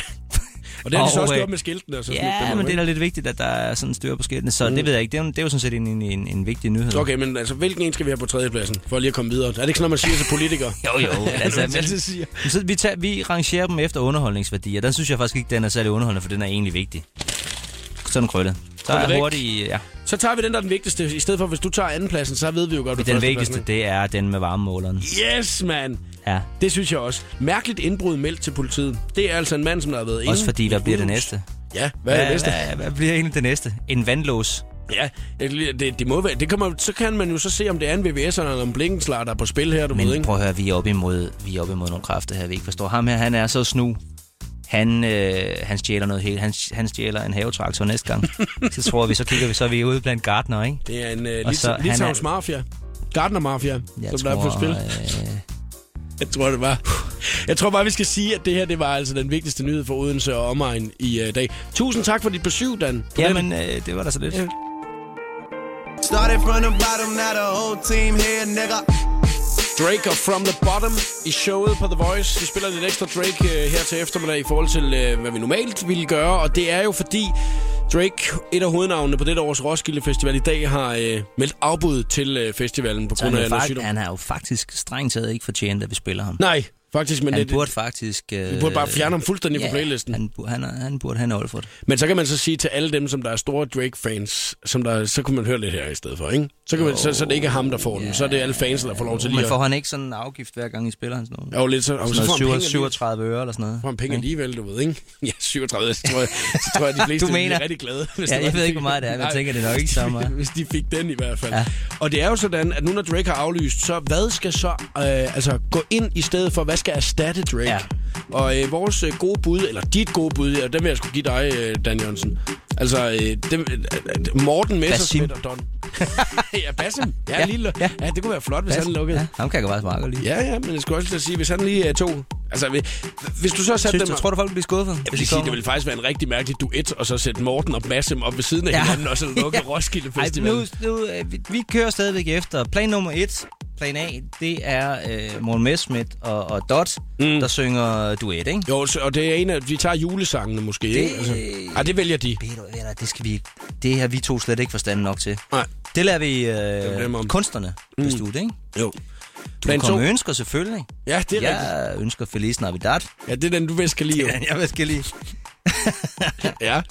[SPEAKER 1] Og det har de så
[SPEAKER 2] Og,
[SPEAKER 1] også
[SPEAKER 2] øh,
[SPEAKER 1] gjort med skiltene. altså, Og så sådan lidt
[SPEAKER 2] ja
[SPEAKER 1] den
[SPEAKER 2] men
[SPEAKER 1] måde,
[SPEAKER 2] det er da lidt vigtigt, at der er sådan styr på skiltene. Så mm. det ved jeg ikke. Det er jo, det er jo sådan set en, en, en, en vigtig nyhed.
[SPEAKER 1] ikke? Okay, men altså, hvilken en skal vi have på tredjepladsen, for lige at komme videre? Er det ikke sådan, noget, man siger til politikere?
[SPEAKER 2] Jo, jo. altså, men,
[SPEAKER 1] siger.
[SPEAKER 2] Men Så vi, tager, vi rangerer dem efter underholdningsværdi, og den synes jeg faktisk ikke, den er særlig underholdende, for den er egentlig vigtig. Sådan krølle. Så
[SPEAKER 1] Krølle væk.
[SPEAKER 2] er hurtigt, ja.
[SPEAKER 1] Så tager vi den, der er den vigtigste. I stedet for, hvis du tager andenpladsen, så ved vi jo godt, hvad
[SPEAKER 2] Den
[SPEAKER 1] førstepladsen
[SPEAKER 2] vigtigste, det er den med varmemåleren.
[SPEAKER 1] er. Yes, mand!
[SPEAKER 2] Ja.
[SPEAKER 1] Det synes jeg også. Mærkeligt indbrud meldt til politiet. Det er altså en mand, som der har været inde.
[SPEAKER 2] Også fordi,
[SPEAKER 1] i
[SPEAKER 2] hvad
[SPEAKER 1] et
[SPEAKER 2] bliver det
[SPEAKER 1] hus.
[SPEAKER 2] næste?
[SPEAKER 1] Ja, hvad er det næste?
[SPEAKER 2] Hvad, hvad bliver egentlig det næste? En vandlås.
[SPEAKER 1] Ja, det, det, det må være. Det kommer, så kan man jo så se, om det er en VVS'er eller en blinkenslager, der er på spil her, du ved,
[SPEAKER 2] Men
[SPEAKER 1] ikke?
[SPEAKER 2] prøv at høre, vi er op imod, vi er op imod nogle kræfter her, vi ikke forstår. Ham her, han er så snu. Han, øh, han stjæler noget helt. Han, han stjæler en havetraktor næste gang. så tror vi, så kigger vi, så er vi ude blandt gardner, ikke?
[SPEAKER 1] Det er en uh,
[SPEAKER 2] Og så-
[SPEAKER 1] lit-
[SPEAKER 2] han
[SPEAKER 1] Litauens
[SPEAKER 2] er-
[SPEAKER 1] mafia. Gardner-mafia, som der er på spil.
[SPEAKER 2] øh,
[SPEAKER 1] Jeg tror, det var. Jeg tror bare, vi skal sige, at det her det var altså den vigtigste nyhed for Odense og omegn i uh, dag. Tusind tak for dit besøg, Dan. På den-
[SPEAKER 2] Jamen, øh, det var da så lidt.
[SPEAKER 7] Started from the bottom, now the whole team here, nigga.
[SPEAKER 1] Drake og From The Bottom i showet på The Voice. Vi spiller lidt ekstra Drake øh, her til eftermiddag i forhold til, øh, hvad vi normalt ville gøre. Og det er jo fordi Drake, et af hovednavnene på dette års Roskilde Festival i dag, har øh, meldt afbud til øh, festivalen på
[SPEAKER 2] Så
[SPEAKER 1] grund
[SPEAKER 2] han,
[SPEAKER 1] af
[SPEAKER 2] er
[SPEAKER 1] noget
[SPEAKER 2] fakt,
[SPEAKER 1] sygdom.
[SPEAKER 2] han har jo faktisk strengt taget ikke fortjent, at vi spiller ham.
[SPEAKER 1] Nej, faktisk, men
[SPEAKER 2] han
[SPEAKER 1] det,
[SPEAKER 2] burde faktisk... Øh,
[SPEAKER 1] vi burde bare fjerne ham fuldstændig fra playlisten.
[SPEAKER 2] Han, bur- han, er- han burde have en Olfert.
[SPEAKER 1] Men så kan man så sige til alle dem, som der er store Drake-fans, som der, så kunne man høre lidt her i stedet for, ikke? Så, kan man, så, så er det ikke ham, der får den. Så er det alle fans, der får lov til lige
[SPEAKER 2] Men
[SPEAKER 1] at...
[SPEAKER 2] får han ikke sådan en afgift, hver gang I spiller hans nummer?
[SPEAKER 1] Jo, lidt så, og så
[SPEAKER 2] Sådan
[SPEAKER 1] får
[SPEAKER 2] noget
[SPEAKER 1] han penge
[SPEAKER 2] 37,
[SPEAKER 1] alligevel.
[SPEAKER 2] 37 øre eller sådan noget.
[SPEAKER 1] får han penge alligevel, du ved, ikke? Ja, 37, så tror jeg, så tror jeg de fleste
[SPEAKER 2] Du mener?
[SPEAKER 1] er rigtig glade. Hvis
[SPEAKER 2] Ja,
[SPEAKER 1] det var,
[SPEAKER 2] jeg
[SPEAKER 1] de
[SPEAKER 2] ved ikke,
[SPEAKER 1] fik
[SPEAKER 2] hvor meget det er,
[SPEAKER 1] den.
[SPEAKER 2] men jeg
[SPEAKER 1] Nej,
[SPEAKER 2] tænker, det er nok
[SPEAKER 1] hvis
[SPEAKER 2] ikke
[SPEAKER 1] de fik- Hvis de fik
[SPEAKER 2] så meget.
[SPEAKER 1] den i hvert fald. Ja.
[SPEAKER 2] Ja.
[SPEAKER 1] Og det er jo sådan, at nu når Drake har aflyst, så hvad skal så øh, altså, gå ind i stedet for, hvad skal erstatte Drake? Ja.
[SPEAKER 2] Ja.
[SPEAKER 1] Og øh, vores øh, gode bud, eller dit gode bud, ja, dem vil jeg skulle give dig, øh, Dan Jørgensen. Altså, øh, dem, øh, øh, Morten Messerschmidt og Don. ja, Basim. Ja, ja,
[SPEAKER 2] Ja,
[SPEAKER 1] lille, ja.
[SPEAKER 2] ja.
[SPEAKER 1] ja, det kunne være flot, hvis Basim. han lukkede.
[SPEAKER 2] Ja, ham kan jeg faktisk meget godt lide.
[SPEAKER 1] Ja, ja, men jeg skulle også lige sige, hvis han lige er to... Altså, hvis- hvis du så satte
[SPEAKER 2] Synes
[SPEAKER 1] dem...
[SPEAKER 2] du, tror du, folk bliver skuffet?
[SPEAKER 1] Jeg vil sige, det ville faktisk være en rigtig mærkelig duet, og så sætte Morten og Basim op ved siden af ja. hinanden, og så lukke ja. Roskilde Festival.
[SPEAKER 2] Ej, nu, nu, øh, vi, vi kører stadigvæk efter. Plan nummer et, plan A, det er øh, Morten Messmith og, og Dot, mm. der synger duet, ikke?
[SPEAKER 1] Jo, så, og det er en af... Vi tager julesangene måske, det... ikke? Altså, ej, det vælger de.
[SPEAKER 2] Ved du, ved du, det skal vi ikke. Det har vi to slet ikke forstand nok til.
[SPEAKER 1] Nej,
[SPEAKER 2] Det lader vi
[SPEAKER 1] er
[SPEAKER 2] øh,
[SPEAKER 1] dem om.
[SPEAKER 2] det kunstnerne mm. beslutte, ikke?
[SPEAKER 1] jo.
[SPEAKER 2] Du
[SPEAKER 1] Plan
[SPEAKER 2] kan komme
[SPEAKER 1] to.
[SPEAKER 2] med ønsker selvfølgelig.
[SPEAKER 1] Ja, det er ja. rigtigt.
[SPEAKER 2] jeg ønsker Feliz Navidad.
[SPEAKER 1] Ja, det er den, du bedst kan lide. jo.
[SPEAKER 2] Jeg vil skal lige...
[SPEAKER 1] Ja.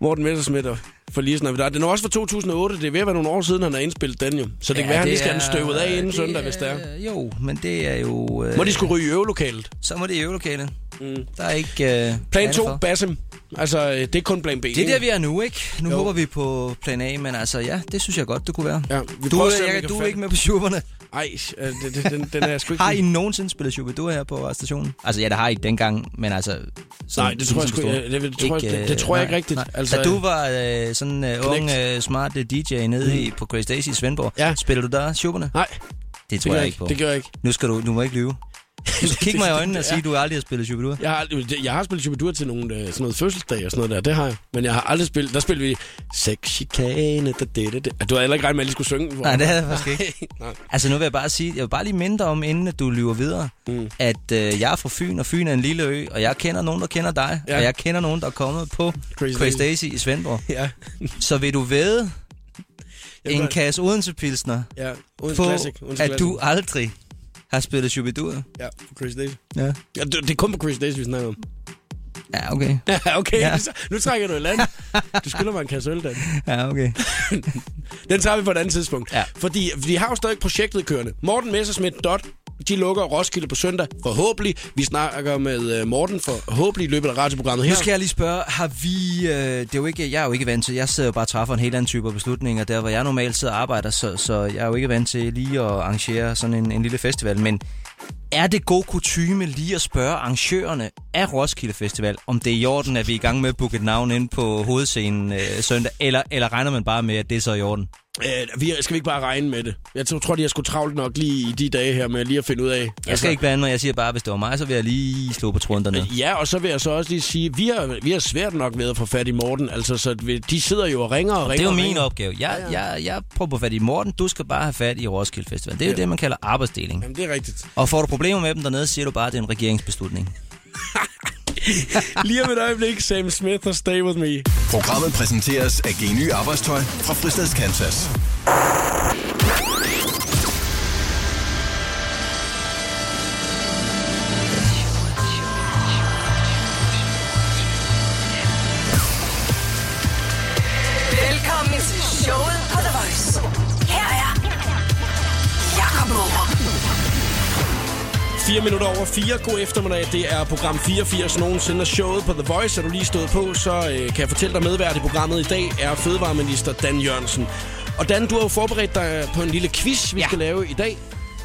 [SPEAKER 1] Morten Messerschmidt og Feliz Navidad. Den er også fra 2008. Det er ved at være nogle år siden, han har indspillet den jo. Så det ja, kan være, han lige skal have den støvet af inden søndag, hvis det er.
[SPEAKER 2] Jo, men det er jo... Øh,
[SPEAKER 1] Må de skulle ryge i øvelokalet?
[SPEAKER 2] Så må det i øvelokalet. Mm. Der er ikke... Øh,
[SPEAKER 1] Plan
[SPEAKER 2] andet
[SPEAKER 1] 2,
[SPEAKER 2] for.
[SPEAKER 1] Basim. Altså, øh, det er kun plan B.
[SPEAKER 2] Det er
[SPEAKER 1] ikke?
[SPEAKER 2] der, vi er nu, ikke? Nu
[SPEAKER 1] Jo.
[SPEAKER 2] jo. håber vi på plan A, men altså, ja, det synes jeg godt, det kunne være.
[SPEAKER 1] Ja, vi
[SPEAKER 2] du,
[SPEAKER 1] prøver at se, om
[SPEAKER 2] jeg,
[SPEAKER 1] vi kan
[SPEAKER 2] du er
[SPEAKER 1] fatte-
[SPEAKER 2] ikke med på shuberne.
[SPEAKER 1] Ej, øh, det- det- den, den er jeg sgu ikke...
[SPEAKER 2] Har I nogensinde spillet Shubidua her på stationen? Altså, ja, det har I dengang, men altså... Sådan,
[SPEAKER 1] Nej, det tror jeg sgu-
[SPEAKER 2] stor.
[SPEAKER 1] ja, det- det tror jeg- det-
[SPEAKER 2] øh,
[SPEAKER 1] det tror jeg ikke
[SPEAKER 2] nej,
[SPEAKER 1] rigtigt.
[SPEAKER 2] nej.
[SPEAKER 1] Altså,
[SPEAKER 2] da du var øh, sådan øh, ung, øh, smart øh, DJ nede i, på Crazy Daisy i Svendborg,
[SPEAKER 1] Mm. Ja.
[SPEAKER 2] ja. spiller du der Shuberne?
[SPEAKER 1] Nej,
[SPEAKER 2] Det
[SPEAKER 1] det
[SPEAKER 2] tror
[SPEAKER 1] gør
[SPEAKER 2] jeg
[SPEAKER 1] jeg
[SPEAKER 2] ikke
[SPEAKER 1] ikke.
[SPEAKER 2] på.
[SPEAKER 1] Det gør jeg ikke.
[SPEAKER 2] Nu skal du, du må ikke lyve. Du skal kigge mig i øjnene og sige, at du aldrig har spillet Shubidua.
[SPEAKER 1] Jeg har, aldrig- det- jeg har spillet Chubadur til nogle øh, sådan noget fødselsdag og sådan noget der. Det har jeg. Men jeg har aldrig spillet... Der spillede vi... Sex, chikane, da, det, det, det. Du havde heller ikke regnet med, at jeg lige skulle synge. hvor-
[SPEAKER 2] Nej, det havde jeg faktisk ikke.
[SPEAKER 1] Nej.
[SPEAKER 2] Altså nu vil jeg bare sige, jeg vil bare lige minde dig om, inden at du lyver videre, mm. at øh, jeg er fra Fyn, og Fyn er en lille ø, og jeg kender nogen, der kender dig,
[SPEAKER 1] Ja.
[SPEAKER 2] ja. og jeg kender nogen, der er kommet på
[SPEAKER 1] Crazy
[SPEAKER 2] Crazy,
[SPEAKER 1] Daisy.
[SPEAKER 2] Crazy Daisy i Svendborg.
[SPEAKER 1] Ja,
[SPEAKER 2] Så vil du væde
[SPEAKER 1] Jeg
[SPEAKER 2] en
[SPEAKER 1] gør-
[SPEAKER 2] kasse Odense Pilsner
[SPEAKER 1] ja. Odense
[SPEAKER 2] på,
[SPEAKER 1] Classic. Odense
[SPEAKER 2] at
[SPEAKER 1] Classic.
[SPEAKER 2] du aldrig har spillet Shubidur.
[SPEAKER 1] Ja, på Chris Days.
[SPEAKER 2] Ja.
[SPEAKER 1] Ja, det, det er kun på Chris Days, vi snakker om.
[SPEAKER 2] Ja, okay.
[SPEAKER 1] Ja, okay. Ja.
[SPEAKER 2] Ja.
[SPEAKER 1] Nu trækker du i land. Du skylder mig en kasse øl, Dan.
[SPEAKER 2] Ja, okay.
[SPEAKER 1] Den tager vi på et andet tidspunkt. Ja.
[SPEAKER 2] Ja.
[SPEAKER 1] Fordi vi har jo stadig projektet kørende. Morten Messerschmidt, Dot, de lukker Roskilde på søndag. Forhåbentlig. Vi snakker med øh, Morten forhåbentlig i løbet af radioprogrammet her.
[SPEAKER 2] Nu skal jeg lige spørge, har vi, øh, det er jo ikke, jeg er jo ikke vant til, jeg sidder jo bare og træffer en helt anden type af beslutninger, der hvor jeg normalt sidder og arbejder, så, så jeg er jo ikke vant til lige at arrangere sådan en, en lille festival, men er det god kutyme lige at spørge arrangørerne af Roskilde Festival, om det er i orden, at vi er i gang med at booke et navn ind på hovedscenen øh, søndag, eller, eller regner man bare med, at det er så i orden?
[SPEAKER 1] Øh, vi, skal vi ikke bare regne med det? Jeg tror, tror, de har sgu travlt nok lige i de dage her med lige at finde ud af. Altså,
[SPEAKER 2] Jeg skal ikke blande mig. Jeg siger bare, hvis det var mig, så vil jeg lige slå på trunderne.
[SPEAKER 1] Ja, og så vil jeg så også lige sige, vi har, vi har svært nok ved at få fat i Morten. Altså, så vi- de sidder jo og ringer og
[SPEAKER 2] Det
[SPEAKER 1] ringer.
[SPEAKER 2] er jo
[SPEAKER 1] og
[SPEAKER 2] min
[SPEAKER 1] ringer.
[SPEAKER 2] opgave. Jeg, jeg, jeg prøver på fat i Morten. Du skal bare have fat i Roskilde Festival. Det er jo det, man kalder arbejdsdeling.
[SPEAKER 1] Jamen, det er rigtigt.
[SPEAKER 2] Og får du problemer med dem dernede, siger du bare, at det er en regeringsbeslutning.
[SPEAKER 1] Lige om et øjeblik, Sam Smith og Stay With Me.
[SPEAKER 4] Programmet præsenteres af Geny Arbejdstøj fra Fristads Kansas.
[SPEAKER 3] Velkommen til showet på The Voice. Her er Jakob Morup.
[SPEAKER 1] 4 minutter over 4. God eftermiddag. Det er program 84 nogensinde af showet på The Voice. Er du lige stået på, så øh, kan jeg fortælle dig medvært i programmet i dag er fødevareminister Dan Jørgensen. Og Dan, du har jo forberedt dig på en lille quiz, vi ja. skal lave i dag.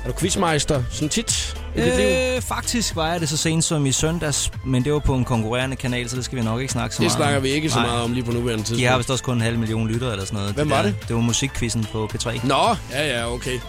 [SPEAKER 1] Er du quizmeister sådan tit i dit liv?
[SPEAKER 2] Øh, faktisk var jeg det så sent som i søndags, men det var på en konkurrerende kanal, så det skal vi nok ikke snakke så
[SPEAKER 1] Det
[SPEAKER 2] meget
[SPEAKER 1] snakker vi ikke så
[SPEAKER 2] Nej.
[SPEAKER 1] meget om lige på nuværende tidspunkt.
[SPEAKER 2] De har vist også kun en halv million lyttere eller sådan noget.
[SPEAKER 1] Hvem
[SPEAKER 2] Det
[SPEAKER 1] var
[SPEAKER 2] der-
[SPEAKER 1] det?
[SPEAKER 2] Det var musikquizzen på P3. Nej,
[SPEAKER 1] Nå, ja, ja, okay.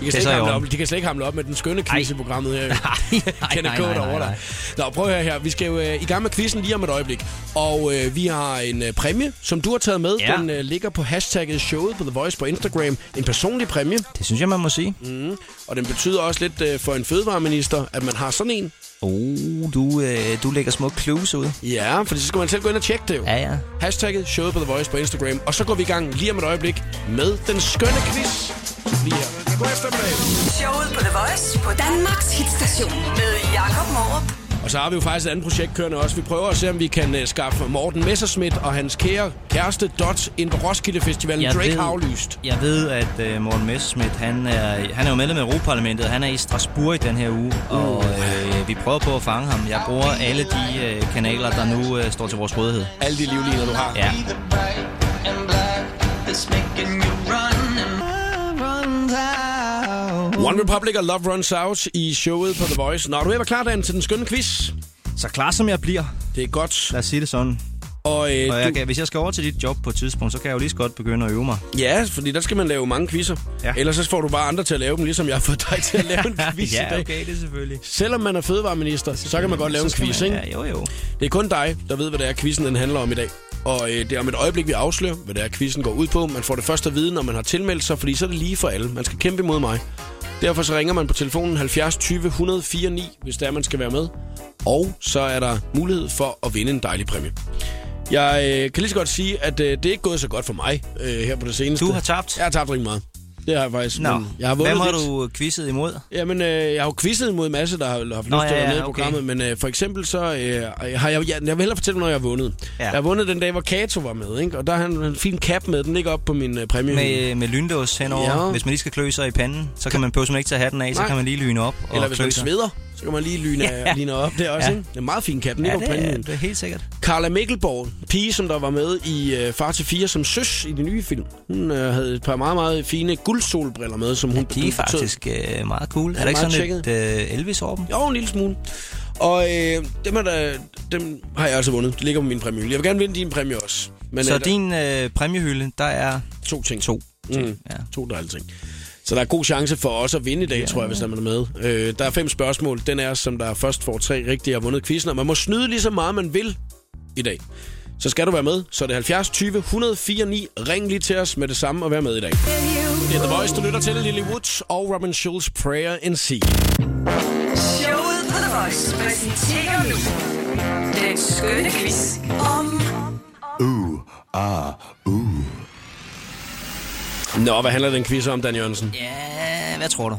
[SPEAKER 1] De kan, slet
[SPEAKER 2] så
[SPEAKER 1] ikke
[SPEAKER 2] i
[SPEAKER 1] hamle op,
[SPEAKER 2] orden.
[SPEAKER 1] de kan slet ikke hamle op med den skønne quiz
[SPEAKER 2] Ej.
[SPEAKER 1] i programmet her.
[SPEAKER 2] nej,
[SPEAKER 1] Kenneth
[SPEAKER 2] nej,
[SPEAKER 1] K.
[SPEAKER 2] nej,
[SPEAKER 1] over
[SPEAKER 2] nej,
[SPEAKER 1] dig.
[SPEAKER 2] nej.
[SPEAKER 1] Nå, prøv at høre her. Vi skal jo øh, i gang med quizzen lige om et øjeblik. Og øh, vi har en øh, præmie, som du har taget med.
[SPEAKER 2] Ja.
[SPEAKER 1] Den øh, ligger på hashtagget showet på The Voice på Instagram. En personlig præmie.
[SPEAKER 2] Det synes jeg, man må sige.
[SPEAKER 1] Mm. Og den betyder også lidt øh, for en fødevareminister, at man har sådan en.
[SPEAKER 2] Oh, du, øh, du lægger små clues ud.
[SPEAKER 1] Ja, for så skal man selv gå ind og tjekke det jo.
[SPEAKER 2] Ja, ja.
[SPEAKER 1] Hashtagget showet på The Voice på Instagram. Og så går vi i gang lige om et øjeblik med den skønne quiz. Lige her. God eftermiddag.
[SPEAKER 3] Showet på The Voice på Danmarks hitstation med Jakob Morup.
[SPEAKER 1] Og så har vi jo faktisk et andet projekt kørende også. Vi prøver at se, om vi kan uh, skaffe Morten Messerschmidt og hans kære kæreste Dot ind på Roskilde Festivalen.
[SPEAKER 2] Jeg
[SPEAKER 1] Drake
[SPEAKER 2] ved-
[SPEAKER 1] har aflyst.
[SPEAKER 2] Jeg ved, at øh, Morten Messerschmidt, han er, han er jo medlem af Europaparlamentet. Han er i Strasbourg i den her uge,
[SPEAKER 1] Uh.
[SPEAKER 2] og øh, vi prøver på at fange ham. Jeg bruger alle de øh, kanaler, der nu øh, står til vores rådighed.
[SPEAKER 1] Alle de livligheder, du har.
[SPEAKER 2] Ja.
[SPEAKER 1] One Republic og Love Runs Out i showet på The Voice. Når du er ved at være klar, Dan, til den skønne quiz.
[SPEAKER 2] Så klar som jeg bliver,
[SPEAKER 1] Det er godt.
[SPEAKER 2] lad os sige det sådan.
[SPEAKER 1] Og, øh,
[SPEAKER 2] Og jeg
[SPEAKER 1] du,
[SPEAKER 2] kan, hvis jeg skal over til dit job på et tidspunkt, så kan jeg jo lige så godt begynde at øve mig.
[SPEAKER 1] ja, fordi der skal man lave mange quizzer.
[SPEAKER 2] Ja.
[SPEAKER 1] Ellers så får du bare andre til at lave dem, ligesom jeg har fået dig til at lave en quiz i dag.
[SPEAKER 2] det er selvfølgelig.
[SPEAKER 1] Selvom man er fødevareminister, så kan man godt lave en
[SPEAKER 2] Så skal
[SPEAKER 1] quiz,
[SPEAKER 2] man-
[SPEAKER 1] ikke?
[SPEAKER 2] Ja, jo, jo.
[SPEAKER 1] Det er kun dig, der ved, hvad det er, quizzen den handler om i dag. Og øh, det er om et øjeblik, vi afslører, hvad det er, quizzen går ud på. Man får det først at vide, når man har tilmeldt sig, fordi så er det lige for alle. Man skal kæmpe imod mig. Derfor så ringer man på telefonen 70 20 104 9, hvis der man skal være med. Og så er der mulighed for at vinde en dejlig præmie. Jeg øh, kan lige så godt sige, at øh, det er ikke gået så godt for mig øh, her på det seneste.
[SPEAKER 2] Du har tabt.
[SPEAKER 1] Jeg har tabt rigtig meget. Det har jeg faktisk.
[SPEAKER 2] Nå,
[SPEAKER 1] men jeg har vundet
[SPEAKER 2] hvem har
[SPEAKER 1] lidt.
[SPEAKER 2] du quizzet imod?
[SPEAKER 1] Jamen, øh, jeg har jo quizzet mod en masse, der har, har haft Nå, lyst til at
[SPEAKER 2] ja,
[SPEAKER 1] være med
[SPEAKER 2] ja,
[SPEAKER 1] i
[SPEAKER 2] okay.
[SPEAKER 1] programmet, men øh, for eksempel så øh, har jeg, jeg, jeg vil hellere fortælle, når jeg har vundet. Ja.
[SPEAKER 2] Ja.
[SPEAKER 1] Jeg har vundet den dag, hvor Kato var med, ikke? og der har han en fin cap med, den ligger op på min øh, præmie.
[SPEAKER 2] Med, med lynlås henover.
[SPEAKER 1] Ja.
[SPEAKER 2] Hvis man lige skal klø sig i panden, så kan man på ikke tage hatten af, så
[SPEAKER 1] Nej.
[SPEAKER 2] kan man lige lyne op og
[SPEAKER 1] Eller hvis
[SPEAKER 2] klø
[SPEAKER 1] man
[SPEAKER 2] sig.
[SPEAKER 1] sveder, så kan man lige lyne, ja. lyne op der også. Ja.
[SPEAKER 2] øh, Ja.
[SPEAKER 1] Ikke? Det er en meget fin cap, den
[SPEAKER 2] Ja,
[SPEAKER 1] ligger på
[SPEAKER 2] det, er,
[SPEAKER 1] præmien.
[SPEAKER 2] det er helt sikkert.
[SPEAKER 1] Carla Mikkelborg, pige, som der var med i øh, Far til 4 som søs i den nye film. Hun øh, havde et par meget, meget fine guldsolbriller med, som hun
[SPEAKER 2] De er
[SPEAKER 1] hun betød-
[SPEAKER 2] faktisk øh, meget cool. Er,
[SPEAKER 1] Er
[SPEAKER 2] der ikke
[SPEAKER 1] meget
[SPEAKER 2] sådan lidt øh, Elvis over dem?
[SPEAKER 1] Jo, en lille smule. Og øh, dem, er der, dem har jeg altså vundet. De ligger på min præmie. Jeg vil gerne vinde din præmie også. Men
[SPEAKER 2] Så
[SPEAKER 1] øh, der-
[SPEAKER 2] din øh, præmiehylde, der er
[SPEAKER 1] to ting.
[SPEAKER 2] to.
[SPEAKER 1] Mm.
[SPEAKER 2] Ja.
[SPEAKER 1] To dejlige ting. Så der er god chance for os at vinde i dag, ja. tror jeg, hvis man er med. Øh, der er fem spørgsmål. Den er, som der først får tre rigtige og har vundet quizzen. Og man må snyde lige så meget, man vil i dag. Så skal du være med. Så er det 70 20 104 9. Ring lige til os med det samme og vær med i dag. Det er The Voice, du lytter til. Lily Woods og Robin Schulz, Prayer in Sea.
[SPEAKER 3] Showet på The Voice præsenterer nu den skønne quiz om
[SPEAKER 1] Nå, hvad handler den quiz om, Dan Jørgensen?
[SPEAKER 2] Ja, hvad tror du?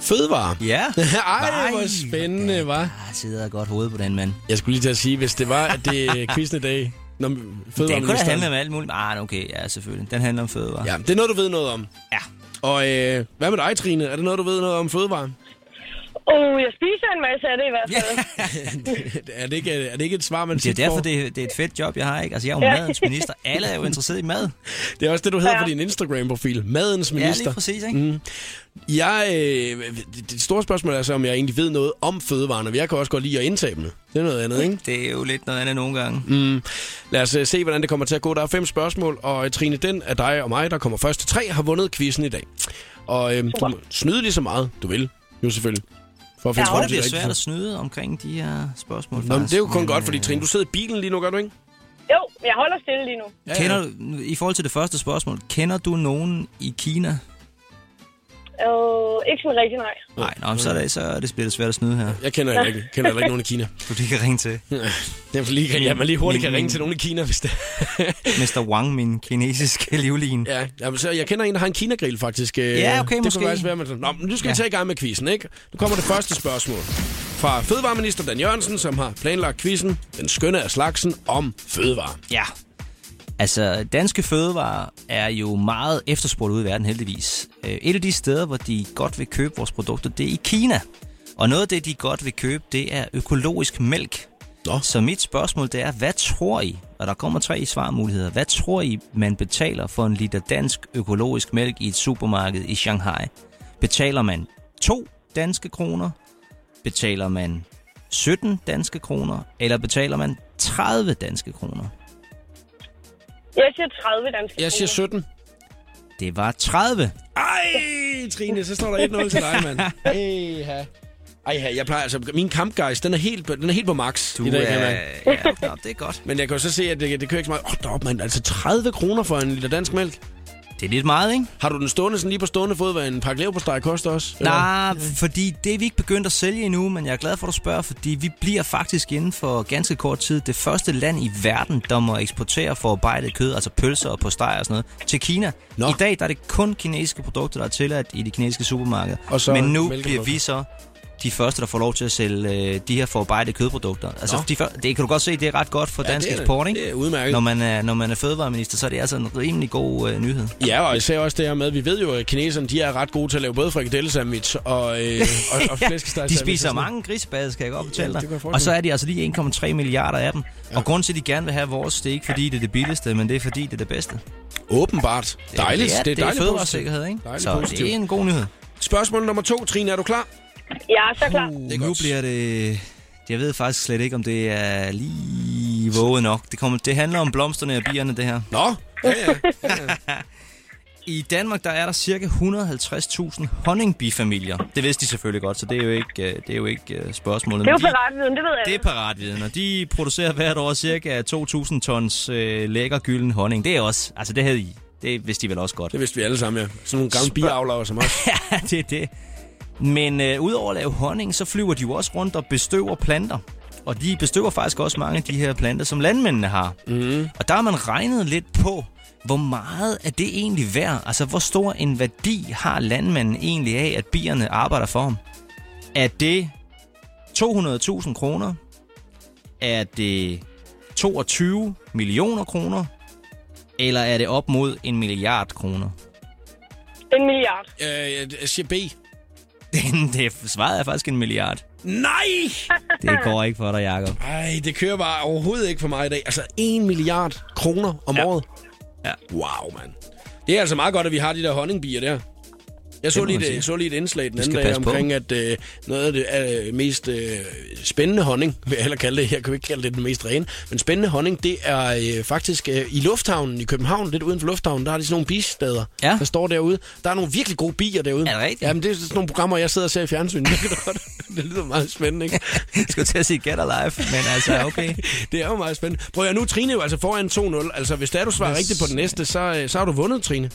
[SPEAKER 1] Fødevare.
[SPEAKER 2] Ja.
[SPEAKER 1] Ej, hvor spændende, hva'?
[SPEAKER 2] Der Ah, sidder et godt hoved på den mand.
[SPEAKER 1] Jeg skulle lige til at sige, hvis det var, at det er quizzen i dag, når
[SPEAKER 2] Den kunne da
[SPEAKER 1] fødevareministeren...
[SPEAKER 2] handle om alt muligt. Ah, okay, ja, selvfølgelig. Den handler om fødevarer.
[SPEAKER 1] Ja, det er noget, du ved noget om.
[SPEAKER 2] ja.
[SPEAKER 1] Og øh, hvad med dig, Trine? Er det noget, du ved noget om fødevare?
[SPEAKER 8] Oh, jeg spiser en masse af det i hvert fald.
[SPEAKER 1] er, det ikke, er det ikke et svar, man
[SPEAKER 2] Det er
[SPEAKER 1] tit
[SPEAKER 2] derfor,
[SPEAKER 1] får?
[SPEAKER 2] det, er- det er et fedt job, jeg har, ikke? Altså, jeg er jo madens minister. Alle er jo interesseret i mad.
[SPEAKER 1] Det er også det, du hedder
[SPEAKER 8] Ja.
[SPEAKER 1] på din Instagram-profil. Madens
[SPEAKER 2] Ja,
[SPEAKER 1] minister.
[SPEAKER 2] lige præcis, ikke? Mm.
[SPEAKER 1] Jeg, øh, det- det store spørgsmål er så, om jeg egentlig ved noget om fødevarene. Jeg kan også godt lide at indtage dem. Det er noget andet, ikke?
[SPEAKER 2] Det er jo lidt noget andet nogle gange.
[SPEAKER 1] Mm. Lad os øh, se, hvordan det kommer til at gå. Der er fem spørgsmål, og øh, Trine, den af dig og mig, der kommer først til tre, har vundet quizzen i dag. Og øh, du må snyde lige så meget, du vil. Jo, selvfølgelig. For at finde
[SPEAKER 2] Jeg tror,
[SPEAKER 1] frem
[SPEAKER 2] det
[SPEAKER 1] til
[SPEAKER 2] bliver
[SPEAKER 1] rigtige
[SPEAKER 2] svært at
[SPEAKER 1] svar.
[SPEAKER 2] snyde omkring de her spørgsmål.
[SPEAKER 1] Nå, men
[SPEAKER 2] faktisk.
[SPEAKER 1] det er jo kun
[SPEAKER 2] Men,
[SPEAKER 1] godt, fordi
[SPEAKER 2] øh,
[SPEAKER 1] Trine, du sidder i bilen lige nu, gør du ikke?
[SPEAKER 8] Jo, jeg holder stille lige nu.
[SPEAKER 1] Ja,
[SPEAKER 2] Kender du, I forhold til det første spørgsmål, kender du nogen i Kina?
[SPEAKER 8] Øh, ikke sådan rigtig, nej.
[SPEAKER 2] Nej, nå, men så, er det, så er det, bliver det svært at snyde her.
[SPEAKER 1] Jeg kender heller ikke, kender heller ikke nogen i Kina.
[SPEAKER 2] Du lige kan ringe til
[SPEAKER 1] Det er lige, ja, man lige hurtigt kan
[SPEAKER 2] Min-
[SPEAKER 1] ringe
[SPEAKER 2] min-
[SPEAKER 1] til nogen i Kina, hvis det
[SPEAKER 2] Mr. Wang, min kinesiske livlin.
[SPEAKER 1] Ja, jamen, så jeg kender en, der har en kinagrill faktisk. Øh,
[SPEAKER 2] Ja, okay,
[SPEAKER 1] det
[SPEAKER 2] måske.
[SPEAKER 1] Kunne faktisk være, man sådan, Nå, men nu skal ja.
[SPEAKER 2] Ja.
[SPEAKER 1] vi tage i gang med quizzen, ikke? Nu kommer det første spørgsmål. Fra fødevareminister Dan Jørgensen, som har planlagt quizzen, den skønne af slagsen, om fødevare.
[SPEAKER 2] Ja. Altså, danske fødevarer er jo meget efterspurgt ude i verden, heldigvis. Øh, Et af de steder, hvor de godt vil købe vores produkter, det er i Kina. Og noget af det, de godt vil købe, det er økologisk mælk.
[SPEAKER 1] Nå.
[SPEAKER 2] Så mit spørgsmål det er, hvad tror I, og der kommer tre svarmuligheder, hvad tror I, man betaler for en liter dansk økologisk mælk i et supermarked i Shanghai? Betaler man 2 danske kroner? Betaler man 17 danske kroner? Eller betaler man 30 danske kroner?
[SPEAKER 8] Jeg siger 30 danske
[SPEAKER 1] Jeg siger
[SPEAKER 8] kroner.
[SPEAKER 1] 17.
[SPEAKER 2] Det var 30.
[SPEAKER 1] Ej, Trine, så står der 1-0 til dig, mand. Ej, Ej, jeg plejer altså... Min kampgejst, den er helt, på- den er helt på max i dag, kan man.
[SPEAKER 2] ja, nå, det er godt.
[SPEAKER 1] Men jeg kan jo så se, at det, det kører ikke så meget. Åh, oh, derop, mand. Altså 30 kroner for en liter dansk mælk.
[SPEAKER 2] Det er lidt meget, ikke?
[SPEAKER 1] Har du den stående sådan lige på stående fod, hvad en pakke leverpostej koster også? Eller?
[SPEAKER 2] Nej, fordi det er vi ikke begyndt at sælge endnu, men jeg er glad for, at du spørger, fordi vi bliver faktisk inden for ganske kort tid det første land i verden, der må eksportere forarbejdet kød, altså pølser og postejer og sådan noget, til Kina.
[SPEAKER 1] Nå.
[SPEAKER 2] Nå. I dag der er det kun kinesiske produkter, der er tilladt i de kinesiske supermarkeder.
[SPEAKER 1] Og så
[SPEAKER 2] men nu
[SPEAKER 1] mælkeprodukter.
[SPEAKER 2] bliver vi så de første, der får lov til at sælge øh, de her forarbejdede kødprodukter. Altså, de før, det kan du godt se, det er ret godt for
[SPEAKER 1] Ja,
[SPEAKER 2] dansk
[SPEAKER 1] det er-
[SPEAKER 2] eksport, ikke?
[SPEAKER 1] det er udmærket.
[SPEAKER 2] Når man er, når man er fødevareminister, så er det altså en rimelig god øh, nyhed.
[SPEAKER 1] Ja, og især også det her med, at vi ved jo, at kineserne de er ret gode til at lave både frikadellesandwich og, øh, og, og flæskesteg.
[SPEAKER 2] De spiser mange grisebads, kan jeg godt fortælle
[SPEAKER 1] altså det kan jeg
[SPEAKER 2] dig.
[SPEAKER 1] forestille
[SPEAKER 2] Og så er de altså lige 1,3 milliarder af dem. Og grunden til, at de gerne vil have vores, det er ikke fordi, det er det billigste, men det er fordi, det er det bedste. Det
[SPEAKER 1] Åbenbart.
[SPEAKER 2] er-
[SPEAKER 1] Dejligt.
[SPEAKER 2] Det er, det er,
[SPEAKER 1] dejligt
[SPEAKER 2] fødevaresikkerhed, ikke?
[SPEAKER 1] positivt. Dejligt
[SPEAKER 2] så
[SPEAKER 1] positivt.
[SPEAKER 2] det er en god nyhed.
[SPEAKER 1] Spørgsmål nummer to, Trine, er du klar?
[SPEAKER 8] Jeg er så klar.
[SPEAKER 2] Det nu bliver det... Jeg ved faktisk slet ikke, om det er lige våget nok. Det, kommer, det handler om blomsterne og bierne, det her.
[SPEAKER 1] Nå, ja, ja.
[SPEAKER 2] I Danmark der er der cirka 150.000 honningbifamilier. Det vidste de selvfølgelig godt, så det er jo ikke, øh, det er jo ikke øh, spørgsmålet.
[SPEAKER 8] Det er jo
[SPEAKER 2] Men de-
[SPEAKER 8] piratviden, det ved jeg.
[SPEAKER 2] Det er paratviden, og de producerer hvert år cirka 2.000 tons øh, lækker gylden honning. Det er også, altså det havde I, det vidste de vel også godt.
[SPEAKER 1] Det vidste vi alle sammen, ja. Sådan nogle gamle
[SPEAKER 2] Spørg-
[SPEAKER 1] biavlere som os.
[SPEAKER 2] Ja, det er det. Men øh, udover at lave honning, så flyver de jo også rundt og bestøver planter. Og de bestøver faktisk også mange af de her planter, som landmændene har. Mm. Og der har man regnet lidt på, hvor meget er det egentlig værd? Altså, hvor stor en værdi har landmanden egentlig af, at bierne arbejder for ham? Er det 200.000 kroner? Er det 22 millioner kroner? Eller er det op mod en milliard kroner?
[SPEAKER 8] En milliard.
[SPEAKER 1] Øh, jeg siger B.
[SPEAKER 2] Den, det svaret er faktisk en milliard.
[SPEAKER 1] Nej!
[SPEAKER 2] Det går ikke for dig, Jacob.
[SPEAKER 1] Ej, det kører bare overhovedet ikke for mig i dag. Altså, 1 milliard kroner om ja. året.
[SPEAKER 2] Ja.
[SPEAKER 1] Wow, mand. Det er altså meget godt, at vi har de der honningbier der. Jeg så,
[SPEAKER 2] må man
[SPEAKER 1] lige,
[SPEAKER 2] sige.
[SPEAKER 1] et, så lige et indslag den anden
[SPEAKER 2] skal
[SPEAKER 1] dag
[SPEAKER 2] passe på.
[SPEAKER 1] omkring, at øh, noget af det øh, mest øh, spændende honning, vil jeg hellere kalde det, jeg kan jo ikke kalde det den mest rene, men spændende honning, det er øh, faktisk øh, i lufthavnen i København, lidt uden for lufthavnen, der har de sådan nogle bistader,
[SPEAKER 2] Ja.
[SPEAKER 1] der står derude. Der er nogle virkelig gode bier derude.
[SPEAKER 2] Er det rigtigt?
[SPEAKER 1] Jamen, det er sådan nogle programmer, jeg sidder og ser i fjernsynet. Det, kan godt- det lyder meget spændende, ikke?
[SPEAKER 2] Jeg skulle til at sige get alive, men altså, okay.
[SPEAKER 1] Det er jo meget spændende. Prøv at høre, nu er Trine jo altså foran 2-0. Altså, hvis det er, du svarer rigtigt på den næste, så, øh, så har du vundet, Trine.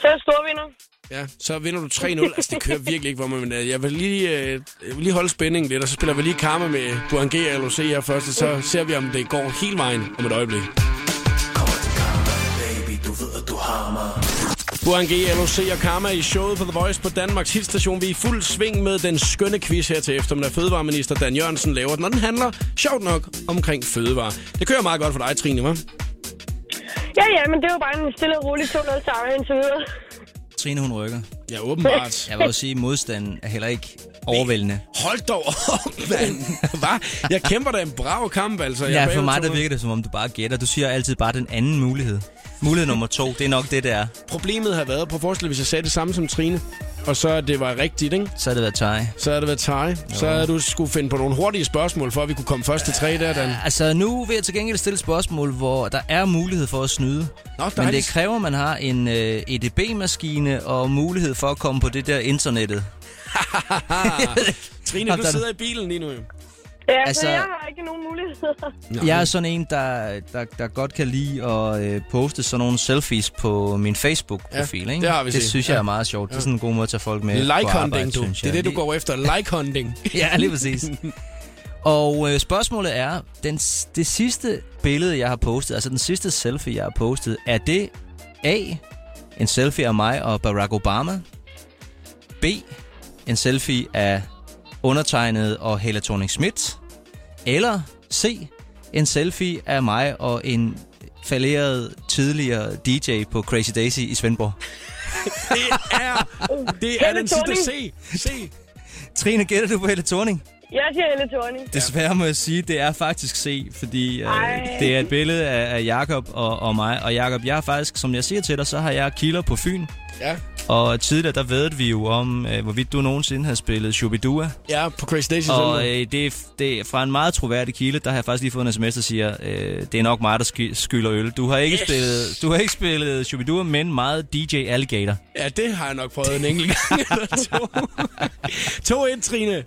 [SPEAKER 8] Så er jeg storvinder.
[SPEAKER 1] Ja, så vinder du 3-0. Altså, det kører virkelig ikke, hvor man... øh, Jeg vil lige, øh, jeg vil lige holde spændingen lidt, og så spiller vi lige Karma med Duan G og LOC her først, og så ser vi, om det går hele vejen om et øjeblik. Burhan G, LOC og Karma i showet på The Voice på Danmarks hitstation. Vi er i fuld sving med den skønne quiz her til eftermiddag. Fødevareminister Dan Jørgensen laver den, og den handler sjovt nok omkring fødevare. Det kører meget godt for dig, Trine, hva'?
[SPEAKER 8] Ja, ja, men det er jo bare en stille og rolig 2-0 sejr indtil videre.
[SPEAKER 2] Trine, hun rykker.
[SPEAKER 1] Ja, åbenbart.
[SPEAKER 2] Jeg vil også sige, at modstanden er heller ikke Overvældende.
[SPEAKER 1] Hold dog op, mand. Hva? Jeg kæmper da en brav kamp, altså. Jeg er
[SPEAKER 2] Ja,
[SPEAKER 1] bagud
[SPEAKER 2] for mig der
[SPEAKER 1] 200.
[SPEAKER 2] virker det, som om du bare gætter. Du siger altid bare den anden mulighed. Mulighed nummer to, det er nok det, der er.
[SPEAKER 1] Problemet har været, på forestil dig, hvis jeg sagde det samme som Trine, og så det var rigtigt, ikke?
[SPEAKER 2] Så har det været tøj.
[SPEAKER 1] Så havde det været Thaj. Så havde du skulle finde på nogle hurtige spørgsmål, for at vi kunne komme først til tre der, Dan.
[SPEAKER 2] Altså, nu vil jeg til gengæld stille et spørgsmål, hvor der er mulighed for at snyde. men det
[SPEAKER 1] dejligt.
[SPEAKER 2] kræver, at man har en øh, EDB-maskine og mulighed for at komme på det der internettet.
[SPEAKER 1] Trine,
[SPEAKER 2] Hold
[SPEAKER 1] du
[SPEAKER 2] da.
[SPEAKER 1] sidder i bilen lige nu, jo.
[SPEAKER 8] Ja, altså...
[SPEAKER 2] Altså-
[SPEAKER 8] så jeg har ikke nogen muligheder.
[SPEAKER 2] Jeg er sådan en, der, der, der godt kan lide at øh, poste sådan nogle selfies på min Facebook-profil.
[SPEAKER 1] Ja,
[SPEAKER 2] ikke?
[SPEAKER 1] det har vi
[SPEAKER 2] det
[SPEAKER 1] set.
[SPEAKER 2] synes jeg
[SPEAKER 1] Ja.
[SPEAKER 2] er meget sjovt. Det er sådan en god måde at tage folk med på
[SPEAKER 1] Like
[SPEAKER 2] arbejde,
[SPEAKER 1] hunting, du.
[SPEAKER 2] synes
[SPEAKER 1] Det
[SPEAKER 2] jeg.
[SPEAKER 1] er det, du går efter. Like hunting.
[SPEAKER 2] Ja, lige præcis. Og øh, spørgsmålet er, den, s- det sidste billede, jeg har postet, altså den sidste selfie, jeg har postet, er det A, en selfie af mig og Barack Obama? B, en selfie af undertegnet og Hella thorning Schmidt? Eller C, en selfie af mig og en falderet tidligere DJ på Crazy Daisy i Svendborg?
[SPEAKER 1] Det er,
[SPEAKER 2] Oh,
[SPEAKER 1] det er
[SPEAKER 8] Helle
[SPEAKER 1] den sidste C.
[SPEAKER 8] Thorning.
[SPEAKER 1] C.
[SPEAKER 2] Trine, gætter du på Hella Thorning?
[SPEAKER 8] Jeg siger Helle Thorning.
[SPEAKER 2] Desværre må jeg sige, det er faktisk C, fordi øh,
[SPEAKER 8] Ej.
[SPEAKER 2] det er et billede af, af Jakob og, og mig. Og Jakob, jeg har faktisk, som jeg siger til dig, så har jeg kilder på Fyn.
[SPEAKER 1] Ja.
[SPEAKER 2] Og tidligere, der ved vi jo om, øh, hvorvidt du nogensinde har spillet Shubidua.
[SPEAKER 1] Ja, på Crazy Daisy.
[SPEAKER 2] Og
[SPEAKER 1] Og,
[SPEAKER 2] øh, det, er f- det er fra en meget troværdig kilde, der har jeg faktisk lige fået en sms, der siger, øh, det er nok mig, der sky- skylder øl. Du har ikke yes. spillet, du har ikke spillet Shubidua, men meget DJ Alligator.
[SPEAKER 1] ja, det har jeg nok prøvet en enkelt gang eller to. 2-1, Trine.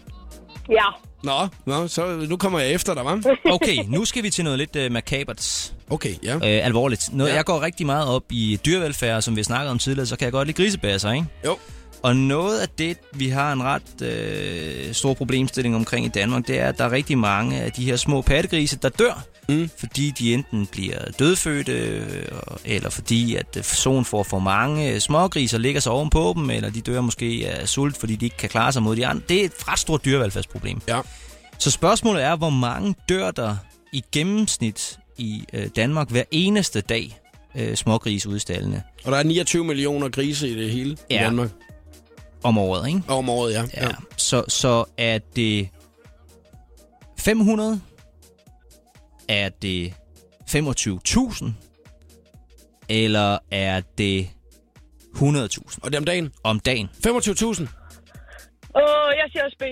[SPEAKER 8] Ja.
[SPEAKER 1] Nå, nå, så nu kommer jeg efter dig, hva'?
[SPEAKER 2] Okay, nu skal vi til noget lidt øh, makabert.
[SPEAKER 1] Okay, ja.
[SPEAKER 2] øh, alvorligt. Noget,
[SPEAKER 1] Ja.
[SPEAKER 2] ja. Jeg går rigtig meget op i dyrevelfærd, og som vi snakkede om tidligere, så kan jeg godt lide grisebasser, ikke?
[SPEAKER 1] Jo.
[SPEAKER 2] Og noget af det, vi har en ret øh, stor problemstilling omkring i Danmark, det er, at der er rigtig mange af de her små pattegrise, der dør,
[SPEAKER 1] Mm.
[SPEAKER 2] fordi de enten bliver dødfødte, øh, eller fordi at øh, solen får for mange øh, smågrise og ligger sig ovenpå dem, eller de dør måske af sult, fordi de ikke kan klare sig mod de andre. Det er et ret stort dyrevelfærdsproblem.
[SPEAKER 1] Ja.
[SPEAKER 2] Så spørgsmålet er, hvor mange dør der i gennemsnit i øh, Danmark hver eneste dag øh, smågris udstallende
[SPEAKER 1] Og der er 29 millioner grise i det hele ja. i
[SPEAKER 2] Ja.
[SPEAKER 1] Danmark.
[SPEAKER 2] om året, ikke?
[SPEAKER 1] Og om året, ja. ja.
[SPEAKER 2] Ja. Så, så er det 500? Er det 25.000? Eller er det 100.000
[SPEAKER 1] Og det er om dagen.
[SPEAKER 2] om dagen?
[SPEAKER 1] 25.000.
[SPEAKER 8] Åh, jeg siger også B.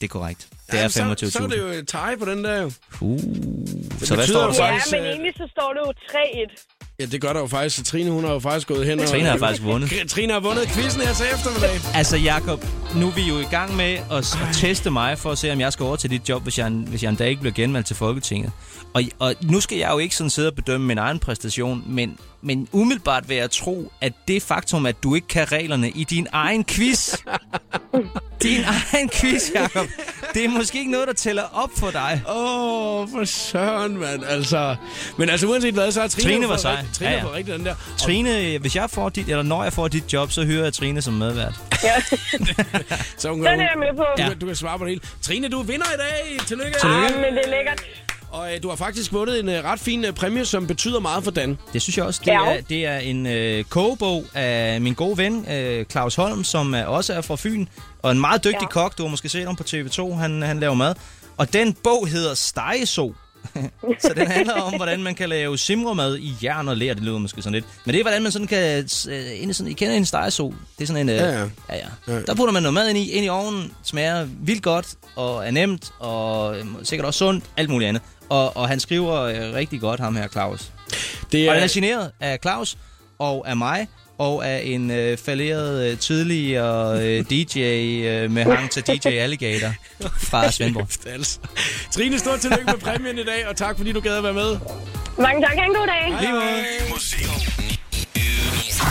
[SPEAKER 2] Det er korrekt. Det er
[SPEAKER 1] Jamen,
[SPEAKER 2] 25.000.
[SPEAKER 1] Så, så er det jo et tie på den der jo.
[SPEAKER 2] Uh, så hvad
[SPEAKER 1] betyder
[SPEAKER 2] står
[SPEAKER 1] jo
[SPEAKER 2] der
[SPEAKER 1] Så
[SPEAKER 8] Ja,
[SPEAKER 2] så?
[SPEAKER 1] hvis,
[SPEAKER 8] men
[SPEAKER 1] øh,
[SPEAKER 8] egentlig så står det jo 3-1.
[SPEAKER 1] Ja, det gør der jo faktisk. Så Trine, hun har jo faktisk gået hen og...
[SPEAKER 2] Trine har faktisk vundet.
[SPEAKER 1] Trine har vundet quizzen her til eftermiddag.
[SPEAKER 2] Altså Jakob, nu er vi jo i gang med at, s- at teste mig for at se, om jeg skal over til dit job, hvis jeg, en- hvis jeg en dag ikke bliver genvalgt til Folketinget. Og, og nu skal jeg jo ikke sådan sidde og bedømme min egen præstation, men, men umiddelbart vil jeg tro, at det faktum, at du ikke kan reglerne i din egen quiz, din egen quiz, Jakob, det er måske ikke noget, der tæller op for dig.
[SPEAKER 1] Åh, oh, for søren, mand. Altså, men altså, uanset hvad, så er Trine...
[SPEAKER 2] Trine
[SPEAKER 1] jo
[SPEAKER 2] var
[SPEAKER 1] fået
[SPEAKER 2] sej.
[SPEAKER 1] rigtig- Trine
[SPEAKER 2] Ja,
[SPEAKER 1] ja,
[SPEAKER 2] ja.
[SPEAKER 1] ja. rigtig den der.
[SPEAKER 2] Trine, hvis jeg får dit, eller når jeg får dit job, så hører jeg Trine som medvært.
[SPEAKER 8] Ja.
[SPEAKER 1] Så hun,
[SPEAKER 8] Den er jeg med på.
[SPEAKER 1] Ja.
[SPEAKER 8] Ja.
[SPEAKER 1] Du, du kan svare på det hele. Trine, du er vinder i dag. Tillykke.
[SPEAKER 8] Ah, men det er lækkert.
[SPEAKER 1] Og øh, du har faktisk vundet en øh, ret fin øh, præmie, som betyder meget for Dan.
[SPEAKER 2] Det synes jeg også. Det,
[SPEAKER 8] Ja.
[SPEAKER 2] er, det er en øh, kogebog af min gode ven, øh, Claus Holm, som er, også er fra Fyn. Og en meget dygtig ja.
[SPEAKER 8] Ja.
[SPEAKER 2] kok. Du har måske set ham på TV2. Han, han laver mad. Og den bog hedder Stegeso. så den handler om, hvordan man kan lave simremad i jern og ler. Det lyder måske sådan lidt. Men det er, hvordan man sådan kan... Øh, ind i sådan, I kender en stegeso. Det er sådan en... Øh,
[SPEAKER 1] Ja, ja.
[SPEAKER 2] Ja, ja. Der putter man noget mad ind i, ind i ovnen, smager vildt godt og er nemt og øh, sikkert også sundt, alt muligt andet. Og, og han skriver øh, rigtig godt, ham her Claus.
[SPEAKER 1] Det
[SPEAKER 2] Og den er signeret af Claus og af mig og af en øh, falderet øh, tidligere øh, DJ øh, med hang til DJ Alligator fra Svendborg.
[SPEAKER 1] altså. Trine, stort tillykke med præmien i dag, og tak fordi du gad at være med.
[SPEAKER 8] Mange tak. Ha' en god dag.
[SPEAKER 1] Lige måde.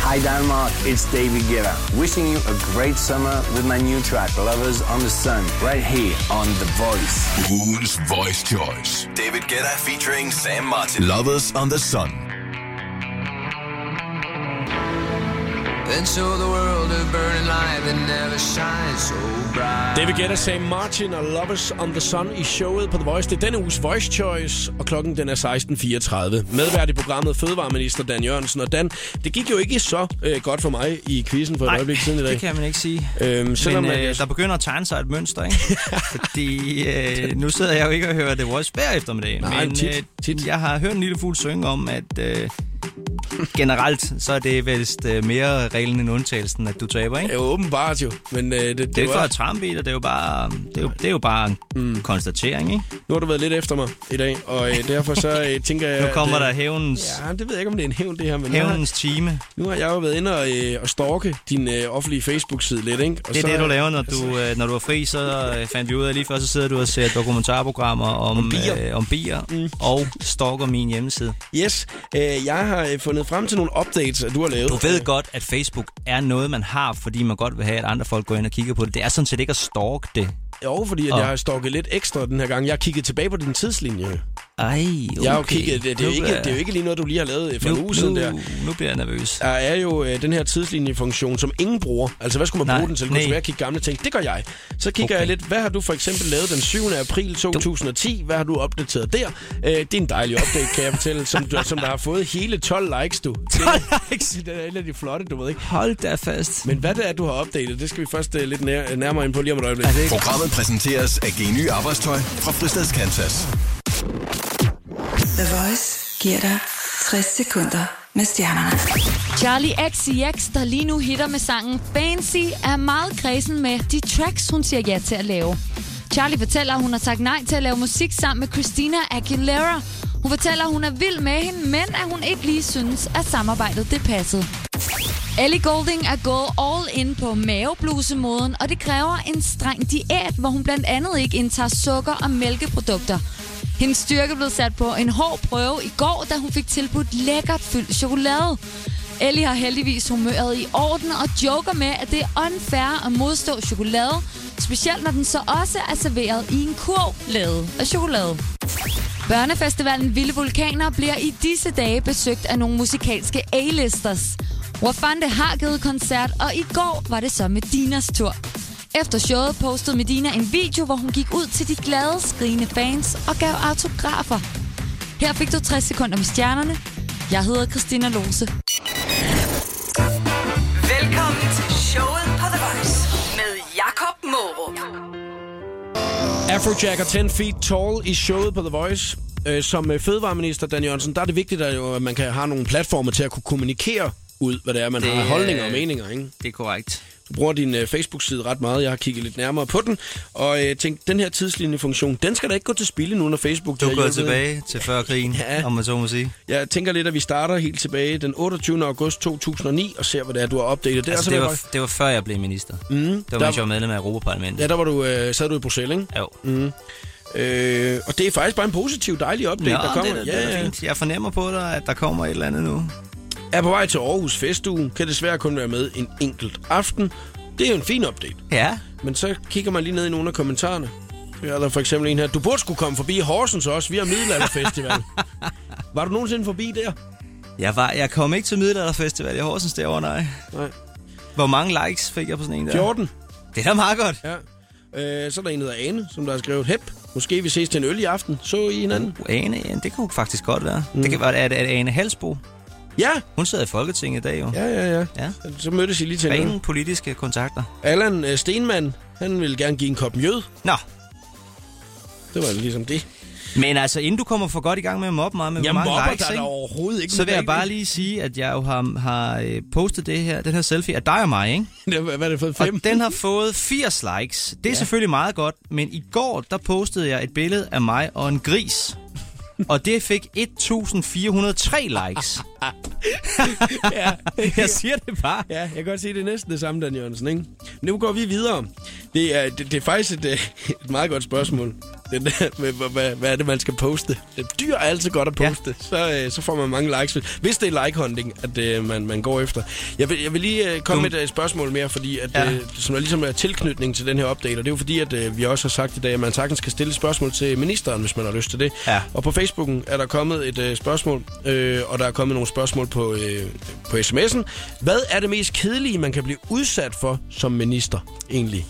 [SPEAKER 9] Hi Denmark, it's David Guetta. Wishing you a great summer with my new track, Lovers on the Sun, right here on The Voice.
[SPEAKER 4] Ugens Voice Choice.
[SPEAKER 7] David Guetta featuring Sam Martin.
[SPEAKER 4] Lovers on the Sun.
[SPEAKER 7] And show the world a burning light that never shines so bright.
[SPEAKER 1] David Guetta sagde Martin og Lovers on the Sun i showet på The Voice. Det er denne uges Voice Choice, og klokken den er 16.34. Medvært i programmet Fødevareminister Dan Jørgensen. Og Dan, det gik jo ikke så øh, godt for mig i quizzen for et øjeblik siden i dag.
[SPEAKER 2] det kan man ikke sige.
[SPEAKER 1] Øhm, selvom
[SPEAKER 2] Men
[SPEAKER 1] man-
[SPEAKER 2] øh, der begynder at tegne sig et mønster, ikke? Fordi øh, nu sidder jeg jo ikke og hører The Voice hver eftermiddag.
[SPEAKER 1] Nej,
[SPEAKER 2] men øh,
[SPEAKER 1] tit, tit.
[SPEAKER 2] jeg har hørt en lille fugl synge om, at øh, generelt, så er det vist øh, mere reglen end undtagelsen, at du taber, ikke?
[SPEAKER 1] Ja, åbenbart jo. Men øh, det, det,
[SPEAKER 2] Det er jo ikke for
[SPEAKER 1] var,
[SPEAKER 2] at trampe i dig, det er jo bare, det er jo, det er jo bare en
[SPEAKER 1] Mm.
[SPEAKER 2] konstatering, ikke?
[SPEAKER 1] nu har du været lidt efter mig i dag, og øh, derfor så øh, tænker jeg...
[SPEAKER 2] Nu kommer
[SPEAKER 1] at, øh,
[SPEAKER 2] der hævnens,
[SPEAKER 1] Ja, det ved jeg ikke, om det er en hævn, det her, men nu har,
[SPEAKER 2] hævnens time.
[SPEAKER 1] nu har jeg jo været inde og, øh, og stalke din øh, offentlige Facebook-side lidt, ikke? Og
[SPEAKER 2] Det er
[SPEAKER 1] så,
[SPEAKER 2] det, du laver, når du, øh, når du er fri, så øh, fandt vi ud af lige før, så sidder du og ser dokumentarprogrammer om, om
[SPEAKER 1] bier.
[SPEAKER 2] øh, om bier mm. og stalker min hjemmeside.
[SPEAKER 1] Yes, øh, jeg har øh, fundet frem til nogle updates, at du har lavet.
[SPEAKER 2] Du ved godt, at Facebook er noget, man har, fordi man godt vil have, at andre folk går ind og kigger på det. Det er sådan set ikke at stalke det.
[SPEAKER 1] Jo, fordi at
[SPEAKER 2] Og-
[SPEAKER 1] jeg har stalket lidt ekstra den her gang. Jeg har kigget tilbage på din tidslinje. Okay.
[SPEAKER 2] Ej, okay.
[SPEAKER 1] Jeg har jo kigget, det, det, er jo
[SPEAKER 2] Nu
[SPEAKER 1] ikke,
[SPEAKER 2] bliver-
[SPEAKER 1] det er jo ikke lige noget, du lige har lavet øh, for en
[SPEAKER 2] nu,
[SPEAKER 1] uge siden der.
[SPEAKER 2] nu, nu bliver jeg nervøs.
[SPEAKER 1] Der er jo øh, den her tidslinjefunktion, som ingen bruger. Altså, hvad skulle man
[SPEAKER 2] Nej,
[SPEAKER 1] bruge den til? Kunne det
[SPEAKER 2] nej.
[SPEAKER 1] være at kigge gamle ting? Det gør jeg. Så kigger
[SPEAKER 2] Okay.
[SPEAKER 1] jeg lidt, hvad har du for eksempel lavet den 7. april 2010? Hvad har du opdateret der? Øh, det er en dejlig update, kan jeg fortælle, som, du, som der har fået hele 12 likes, du.
[SPEAKER 2] 12 likes?
[SPEAKER 1] Det er en af de flotte, du ved ikke.
[SPEAKER 2] Hold da fast.
[SPEAKER 1] Men hvad det er, du har opdateret, det skal vi først øh, lidt nær- nærmere ind på lige om et øjeblik.
[SPEAKER 2] Er det ikke-
[SPEAKER 4] Programmet præsenteres af Geny Arbejdstøj fra Fristads Kansas.
[SPEAKER 5] The Voice giver dig 60 sekunder med stjernerne.
[SPEAKER 6] Charlie XCX, der lige nu hitter med sangen Fancy, er meget kredsen med de tracks, hun siger ja til at lave. Charlie fortæller, at hun har sagt nej til at lave musik sammen med Christina Aguilera. Hun fortæller, at hun er vild med hende, men at hun ikke lige synes, at samarbejdet det passede. Ellie Golding er gået all in på maveblusemoden, og det kræver en streng diæt, hvor hun blandt andet ikke indtager sukker og mælkeprodukter. Hendes styrke blev sat på en hård prøve i går, da hun fik tilbudt lækkert fyldt chokolade. Ellie har heldigvis humøret i orden og joker med, at det er unfair at modstå chokolade, specielt når den så også er serveret i en kurv lavet af chokolade. Børnefestivalen Vilde Vulkaner bliver i disse dage besøgt af nogle musikalske A-listers. Wafande har givet koncert, og i går var det så Medinas tur. Efter showet postede Medina en video, hvor hun gik ud til de glade, skrigende fans og gav autografer. Her fik du 60 sekunder med stjernerne. Jeg hedder Christina Lose.
[SPEAKER 3] Velkommen til showet på The Voice med Jakob Morup.
[SPEAKER 1] Afrojack er 10 feet tall i showet på The Voice. Øh, Som øh, fødevareminister, Dan Jørgensen, der er det vigtigt, at, jo, at man kan have nogle platforme til at kunne kommunikere ud, hvad det er, man det,
[SPEAKER 2] Det
[SPEAKER 1] har af holdninger og
[SPEAKER 2] er-
[SPEAKER 1] meninger. Ikke?
[SPEAKER 2] Det er korrekt.
[SPEAKER 1] Du bruger din øh, Facebook-side ret meget. Jeg har kigget lidt nærmere på den, og øh, tænkt, den her tidslinjefunktion, den skal da ikke gå til spille nu, når Facebook...
[SPEAKER 2] Du
[SPEAKER 1] har
[SPEAKER 2] går
[SPEAKER 1] hjulpet.
[SPEAKER 2] tilbage til før krigen,
[SPEAKER 1] Ja.
[SPEAKER 2] ja. om man så må sige.
[SPEAKER 1] Jeg tænker lidt, at vi starter helt tilbage den 28. august 2009, og ser, hvad det er, du har opdateret. Det,
[SPEAKER 2] Altså,
[SPEAKER 1] er,
[SPEAKER 2] det,
[SPEAKER 1] altså,
[SPEAKER 2] var, det var før jeg blev minister. Mm, det var,
[SPEAKER 1] der-
[SPEAKER 2] mens jeg var medlem af Europaparlamentet.
[SPEAKER 1] Ja, der var du, øh, sad du i Bruxelles, ikke?
[SPEAKER 2] Jo.
[SPEAKER 1] Mm. Øh, og det er faktisk bare en positiv, dejlig update,
[SPEAKER 2] Nå,
[SPEAKER 1] der kommer.
[SPEAKER 2] det, er da- det, ja, fint. Jeg fornemmer på dig, at der kommer et eller andet nu.
[SPEAKER 1] er på vej til Aarhus Festugen, kan desværre kun være med en enkelt aften. Det er jo en fin update.
[SPEAKER 2] Ja.
[SPEAKER 1] Men så kigger man lige ned i nogle af kommentarerne. Ja, der er for eksempel en her. Du burde skulle komme forbi Horsens også. Vi har middelalderfestival. var du nogensinde forbi der?
[SPEAKER 2] Jeg, var, jeg kom ikke til Middelalderfestival i Horsens derovre, nej.
[SPEAKER 1] Nej.
[SPEAKER 2] Hvor mange likes fik jeg på sådan en der?
[SPEAKER 1] 14?
[SPEAKER 2] Det er da meget godt.
[SPEAKER 1] Ja. Øh, så er der en, der hedder Ane, som der har skrevet, Hep, måske vi ses til en øl i aften. Så I hinanden?
[SPEAKER 2] Uh, Ane, ja, det kunne faktisk godt være. Mm. Det kan være, at, at Ane Halsbo,
[SPEAKER 1] Ja,
[SPEAKER 2] hun sidder i Folketinget i dag jo. Ja.
[SPEAKER 1] ja, ja, ja.
[SPEAKER 2] ja.
[SPEAKER 1] Så mødtes I lige til en øl.
[SPEAKER 2] Rene politiske kontakter.
[SPEAKER 1] Allan øh, Stenmann, han ville gerne give en kop mjød.
[SPEAKER 2] Nå,
[SPEAKER 1] Det var ligesom det.
[SPEAKER 2] men altså, inden du kommer for godt i gang med at mobbe mig med hvor
[SPEAKER 1] Jeg
[SPEAKER 2] mange
[SPEAKER 1] mobber
[SPEAKER 2] likes,
[SPEAKER 1] dig da
[SPEAKER 2] ikke?
[SPEAKER 1] overhovedet ikke.
[SPEAKER 2] så vil jeg bare lige sige, at jeg jo har, har øh, postet det her, den her selfie af dig og mig, ikke?
[SPEAKER 1] Hvad er det for
[SPEAKER 2] Og
[SPEAKER 1] fem?
[SPEAKER 2] den har fået 80 likes. Det er ja. selvfølgelig meget godt, men i går der postede jeg et billede af mig og en gris. Og det fik 1403 likes. jeg siger det bare.
[SPEAKER 1] Ja, jeg kan godt se, det er næsten det samme, Dan Jørgensen, ikke? Nu går vi videre. Det er, det, det er faktisk et, øh, et meget godt spørgsmål. Den der med, hvad, hvad, hvad er det, man skal poste? Dyr er altid godt at poste. Ja. Så, øh, så får man mange likes. Hvis det er like-hunting, at øh, man, man går efter. Jeg vil, jeg vil lige øh, komme
[SPEAKER 2] Du-
[SPEAKER 1] med et øh, spørgsmål mere, fordi at,
[SPEAKER 2] Ja.
[SPEAKER 1] ja. øh, som der ligesom er tilknytning til den her update. Og det er jo fordi, at øh, vi også har sagt i dag, at man sagtens kan stille et spørgsmål til ministeren, hvis man har lyst til det.
[SPEAKER 2] Ja.
[SPEAKER 1] Og på Facebooken er der kommet et øh, spørgsmål, øh, og der er kommet nogle spørgsmål på, øh, på sms'en. Hvad er det mest kedelige, man kan blive udsat for som minister egentlig?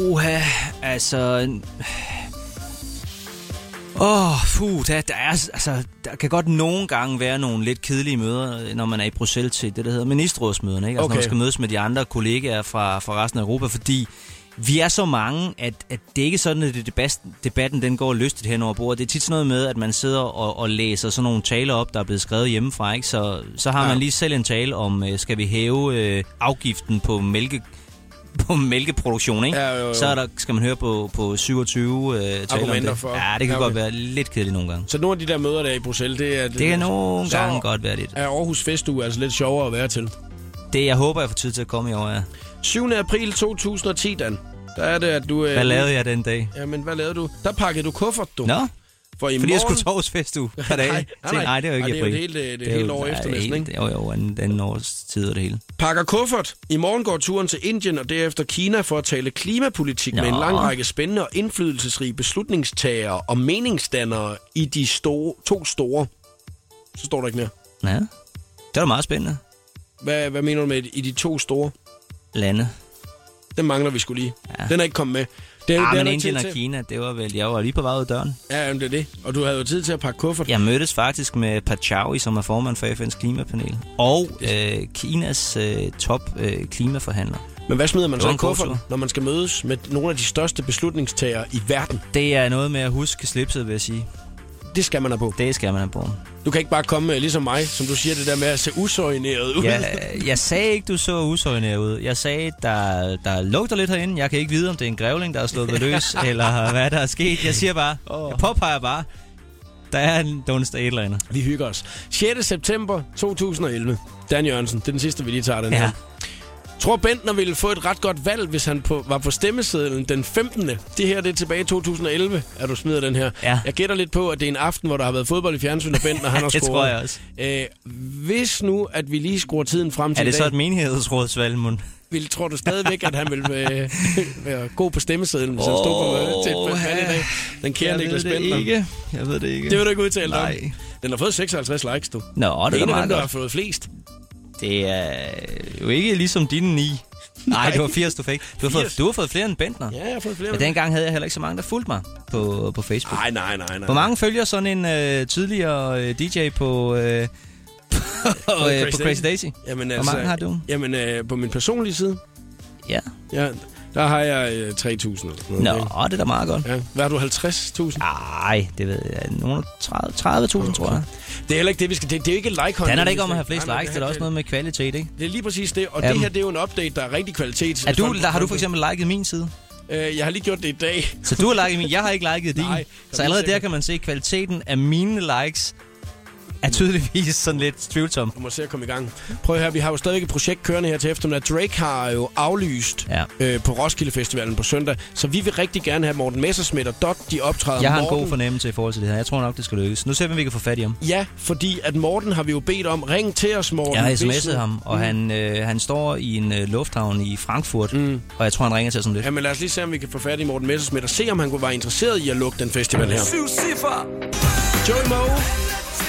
[SPEAKER 2] Oha, altså... Åh, oh, puh, der, der, er, altså, der kan godt nogle gange være nogle lidt kedelige møder, når man er i Bruxelles til det, der hedder ministerrådsmøderne. Ikke? Altså,
[SPEAKER 1] Okay.
[SPEAKER 2] Når man skal mødes med de andre kollegaer fra, fra resten af Europa, fordi vi er så mange, at, at det er ikke sådan, at det debat, debatten den går lystigt hen over bordet. Det er tit sådan noget med, at man sidder og, og læser sådan nogle taler op, der er blevet skrevet hjemmefra. Ikke? Så, så har ja. man lige selv en tale om, øh, skal vi hæve øh, afgiften på mælke på mælkeproduktion, ikke?
[SPEAKER 1] Ja, jo, jo.
[SPEAKER 2] Så er der, skal man høre på, på 27 øh, taler om
[SPEAKER 1] Argumenter
[SPEAKER 2] det.
[SPEAKER 1] for.
[SPEAKER 2] Ja, det kan
[SPEAKER 1] Ja, okay.
[SPEAKER 2] godt være lidt kedeligt nogle gange.
[SPEAKER 1] Så nogle af de der møder der i Bruxelles, det er...
[SPEAKER 2] Det kan nogle
[SPEAKER 1] så
[SPEAKER 2] gange godt være lidt.
[SPEAKER 1] er Aarhus Festuge altså lidt sjovere at være til.
[SPEAKER 2] Det, jeg håber, jeg får tid til at komme i år, ja.
[SPEAKER 1] 7. april 2010, Dan. Der er det, at du... øh,
[SPEAKER 2] Hvad lavede jeg den dag?
[SPEAKER 1] Jamen, hvad lavede du? Der pakkede du kuffert, du.
[SPEAKER 2] Nå,
[SPEAKER 1] For i
[SPEAKER 2] fordi jeg
[SPEAKER 1] morgen...
[SPEAKER 2] skulle tovsfest du. Nej,
[SPEAKER 1] Nej, nej, nej.
[SPEAKER 2] nej, det er jo
[SPEAKER 1] Nej, det er
[SPEAKER 2] ikke
[SPEAKER 1] jo
[SPEAKER 2] april.
[SPEAKER 1] et helt, øh, det er et helt
[SPEAKER 2] jo-
[SPEAKER 1] år
[SPEAKER 2] nej,
[SPEAKER 1] efter
[SPEAKER 2] det er
[SPEAKER 1] næsten,
[SPEAKER 2] helt- Jo, jo, anden, anden års tid og det hele.
[SPEAKER 1] Pakker kuffert. I morgen går turen til Indien og derefter Kina for at tale klimapolitik Nå. med en
[SPEAKER 2] Nå.
[SPEAKER 1] lang række spændende og indflydelsesrige beslutningstagere og meningsdannere i de store, to store. Så står der ikke mere.
[SPEAKER 2] Ja, det var meget spændende.
[SPEAKER 1] Hvad, hvad mener du med i de to store?
[SPEAKER 2] Lande.
[SPEAKER 1] Den mangler vi skulle lige. Ja. Den er ikke kommet med. Det er, den er
[SPEAKER 2] Ah, men
[SPEAKER 1] der
[SPEAKER 2] Indien
[SPEAKER 1] tid
[SPEAKER 2] og
[SPEAKER 1] til.
[SPEAKER 2] Kina, det var vel, jeg var lige på vej ud af døren.
[SPEAKER 1] Ja, jamen, det er det. Og du havde jo tid til at pakke kuffert.
[SPEAKER 2] Jeg mødtes faktisk med Pachaui, som er formand for FN's klimapanel, og øh, Kinas øh, top øh, klimaforhandler.
[SPEAKER 1] Men hvad smider man
[SPEAKER 2] Det
[SPEAKER 1] så
[SPEAKER 2] var
[SPEAKER 1] i
[SPEAKER 2] en god
[SPEAKER 1] kufferten,
[SPEAKER 2] tur.
[SPEAKER 1] når man skal mødes med nogle af de største beslutningstagere i verden?
[SPEAKER 2] Det er noget med at huske slipset, vil jeg sige.
[SPEAKER 1] Det skal man have på.
[SPEAKER 2] Det skal man have på.
[SPEAKER 1] Du kan ikke bare komme øh, ligesom mig, som du siger, det der med at se usøgneret ud.
[SPEAKER 2] Jeg, øh, jeg sagde ikke, du så usøgnere ud. Jeg sagde, der, der lugter lidt herinde. Jeg kan ikke vide, om det er en grævling, der er slået ved løs, eller hvad der er sket. Jeg siger bare, jeg påpeger bare, der er en donut eller andet.
[SPEAKER 1] Vi hygger os. 6. september 2011. Dan Jørgensen, det er den sidste, vi lige tager den
[SPEAKER 2] Ja.
[SPEAKER 1] her. Tror Bentner ville få et ret godt valg, hvis han på, var på stemmesedlen den 15. Det her det er tilbage i 2011, at du smider den her.
[SPEAKER 2] Ja.
[SPEAKER 1] Jeg gætter lidt på, at det er en aften, hvor der har været fodbold i fjernsynet, og Bentner han har
[SPEAKER 2] Det
[SPEAKER 1] scoret.
[SPEAKER 2] tror jeg også.
[SPEAKER 1] Æh, hvis nu, at vi lige skruer tiden frem til
[SPEAKER 2] Er det
[SPEAKER 1] i
[SPEAKER 2] så
[SPEAKER 1] dag,
[SPEAKER 2] et menighedsrådsvalg, Mund?
[SPEAKER 1] vil, tror du stadigvæk, at han vil øh, være god på stemmesedlen, hvis oh, han stod på øh, til et valg i dag? Den kære Niklas Bentner.
[SPEAKER 2] Jeg ved det ikke.
[SPEAKER 1] Det vil du ikke udtale dig om.
[SPEAKER 2] Nej.
[SPEAKER 1] Den har fået 56 likes, du.
[SPEAKER 2] Nå, det
[SPEAKER 1] Det
[SPEAKER 2] er
[SPEAKER 1] er en af
[SPEAKER 2] meget
[SPEAKER 1] dem, der
[SPEAKER 2] godt.
[SPEAKER 1] har fået flest.
[SPEAKER 2] Det er jo ikke ligesom dine ni. Nej, det var 80, du fik. Du har,
[SPEAKER 1] 80.
[SPEAKER 2] fået, du har fået flere end Bentner.
[SPEAKER 1] Ja, jeg har fået flere.
[SPEAKER 2] Men dengang havde jeg heller ikke så mange, der fulgte mig på, på Facebook.
[SPEAKER 1] Nej, nej, nej, nej.
[SPEAKER 2] Hvor mange følger sådan en øh, tidligere øh, DJ på, øh, på, øh, på
[SPEAKER 1] Crazy
[SPEAKER 2] Crazy
[SPEAKER 1] Daisy?
[SPEAKER 2] Daisy?
[SPEAKER 1] Jamen,
[SPEAKER 2] Hvor
[SPEAKER 1] altså,
[SPEAKER 2] mange har du?
[SPEAKER 1] Jamen, øh, på min personlige side,
[SPEAKER 2] Ja.
[SPEAKER 1] ja, der har jeg øh, 3.000. eller sådan
[SPEAKER 2] Nå, Ah.
[SPEAKER 1] noget, ikke?
[SPEAKER 2] det er da meget godt.
[SPEAKER 1] Ja. Hvad har du, 50.000?
[SPEAKER 2] Ej, det ved jeg. Nogle 30 30.000, tror jeg.
[SPEAKER 1] Det er heller ikke det, vi skal... Det, det er jo ikke like
[SPEAKER 2] Det handler da ikke om at have flest likes, det er da også noget med kvalitet, ikke?
[SPEAKER 1] Det er lige præcis det, og det
[SPEAKER 2] Jamen.
[SPEAKER 1] her, det er jo en update, der er rigtig kvalitet.
[SPEAKER 2] Er du, har du for eksempel liket min side?
[SPEAKER 1] Øh, jeg har lige gjort det i dag.
[SPEAKER 2] Så du har liket min, jeg har ikke liket din.
[SPEAKER 1] Nej,
[SPEAKER 2] så allerede
[SPEAKER 1] sikkert.
[SPEAKER 2] der kan man se, at kvaliteten af mine likes er tydeligvis sådan lidt tvivlsom.
[SPEAKER 1] Du må se at komme i gang. Prøv at høre, vi har jo stadigvæk et projekt kørende her til eftermiddag. Drake har jo aflyst
[SPEAKER 2] Ja.
[SPEAKER 1] øh, på Roskilde Festivalen på søndag, så vi vil rigtig gerne have Morten Messerschmidt og Dot, de optræder
[SPEAKER 2] Jeg har en
[SPEAKER 1] Morten,
[SPEAKER 2] god fornemmelse i forhold til det her. Jeg tror nok, det skal lykkes. Nu ser vi, om vi kan få fat i ham.
[SPEAKER 1] Ja, fordi at Morten har vi jo bedt om, ring til os, Morten.
[SPEAKER 2] Jeg har
[SPEAKER 1] hvis
[SPEAKER 2] sms'et
[SPEAKER 1] nu-
[SPEAKER 2] ham, og han, øh, han står i en øh, lufthavn i Frankfurt, mm. og jeg tror, han ringer til os om lidt.
[SPEAKER 1] Jamen lad os lige se, om vi kan få fat i Morten Messerschmidt og se, om han kunne være interesseret i at lukke den festival her.
[SPEAKER 3] Syv cifre.
[SPEAKER 1] Joey Moe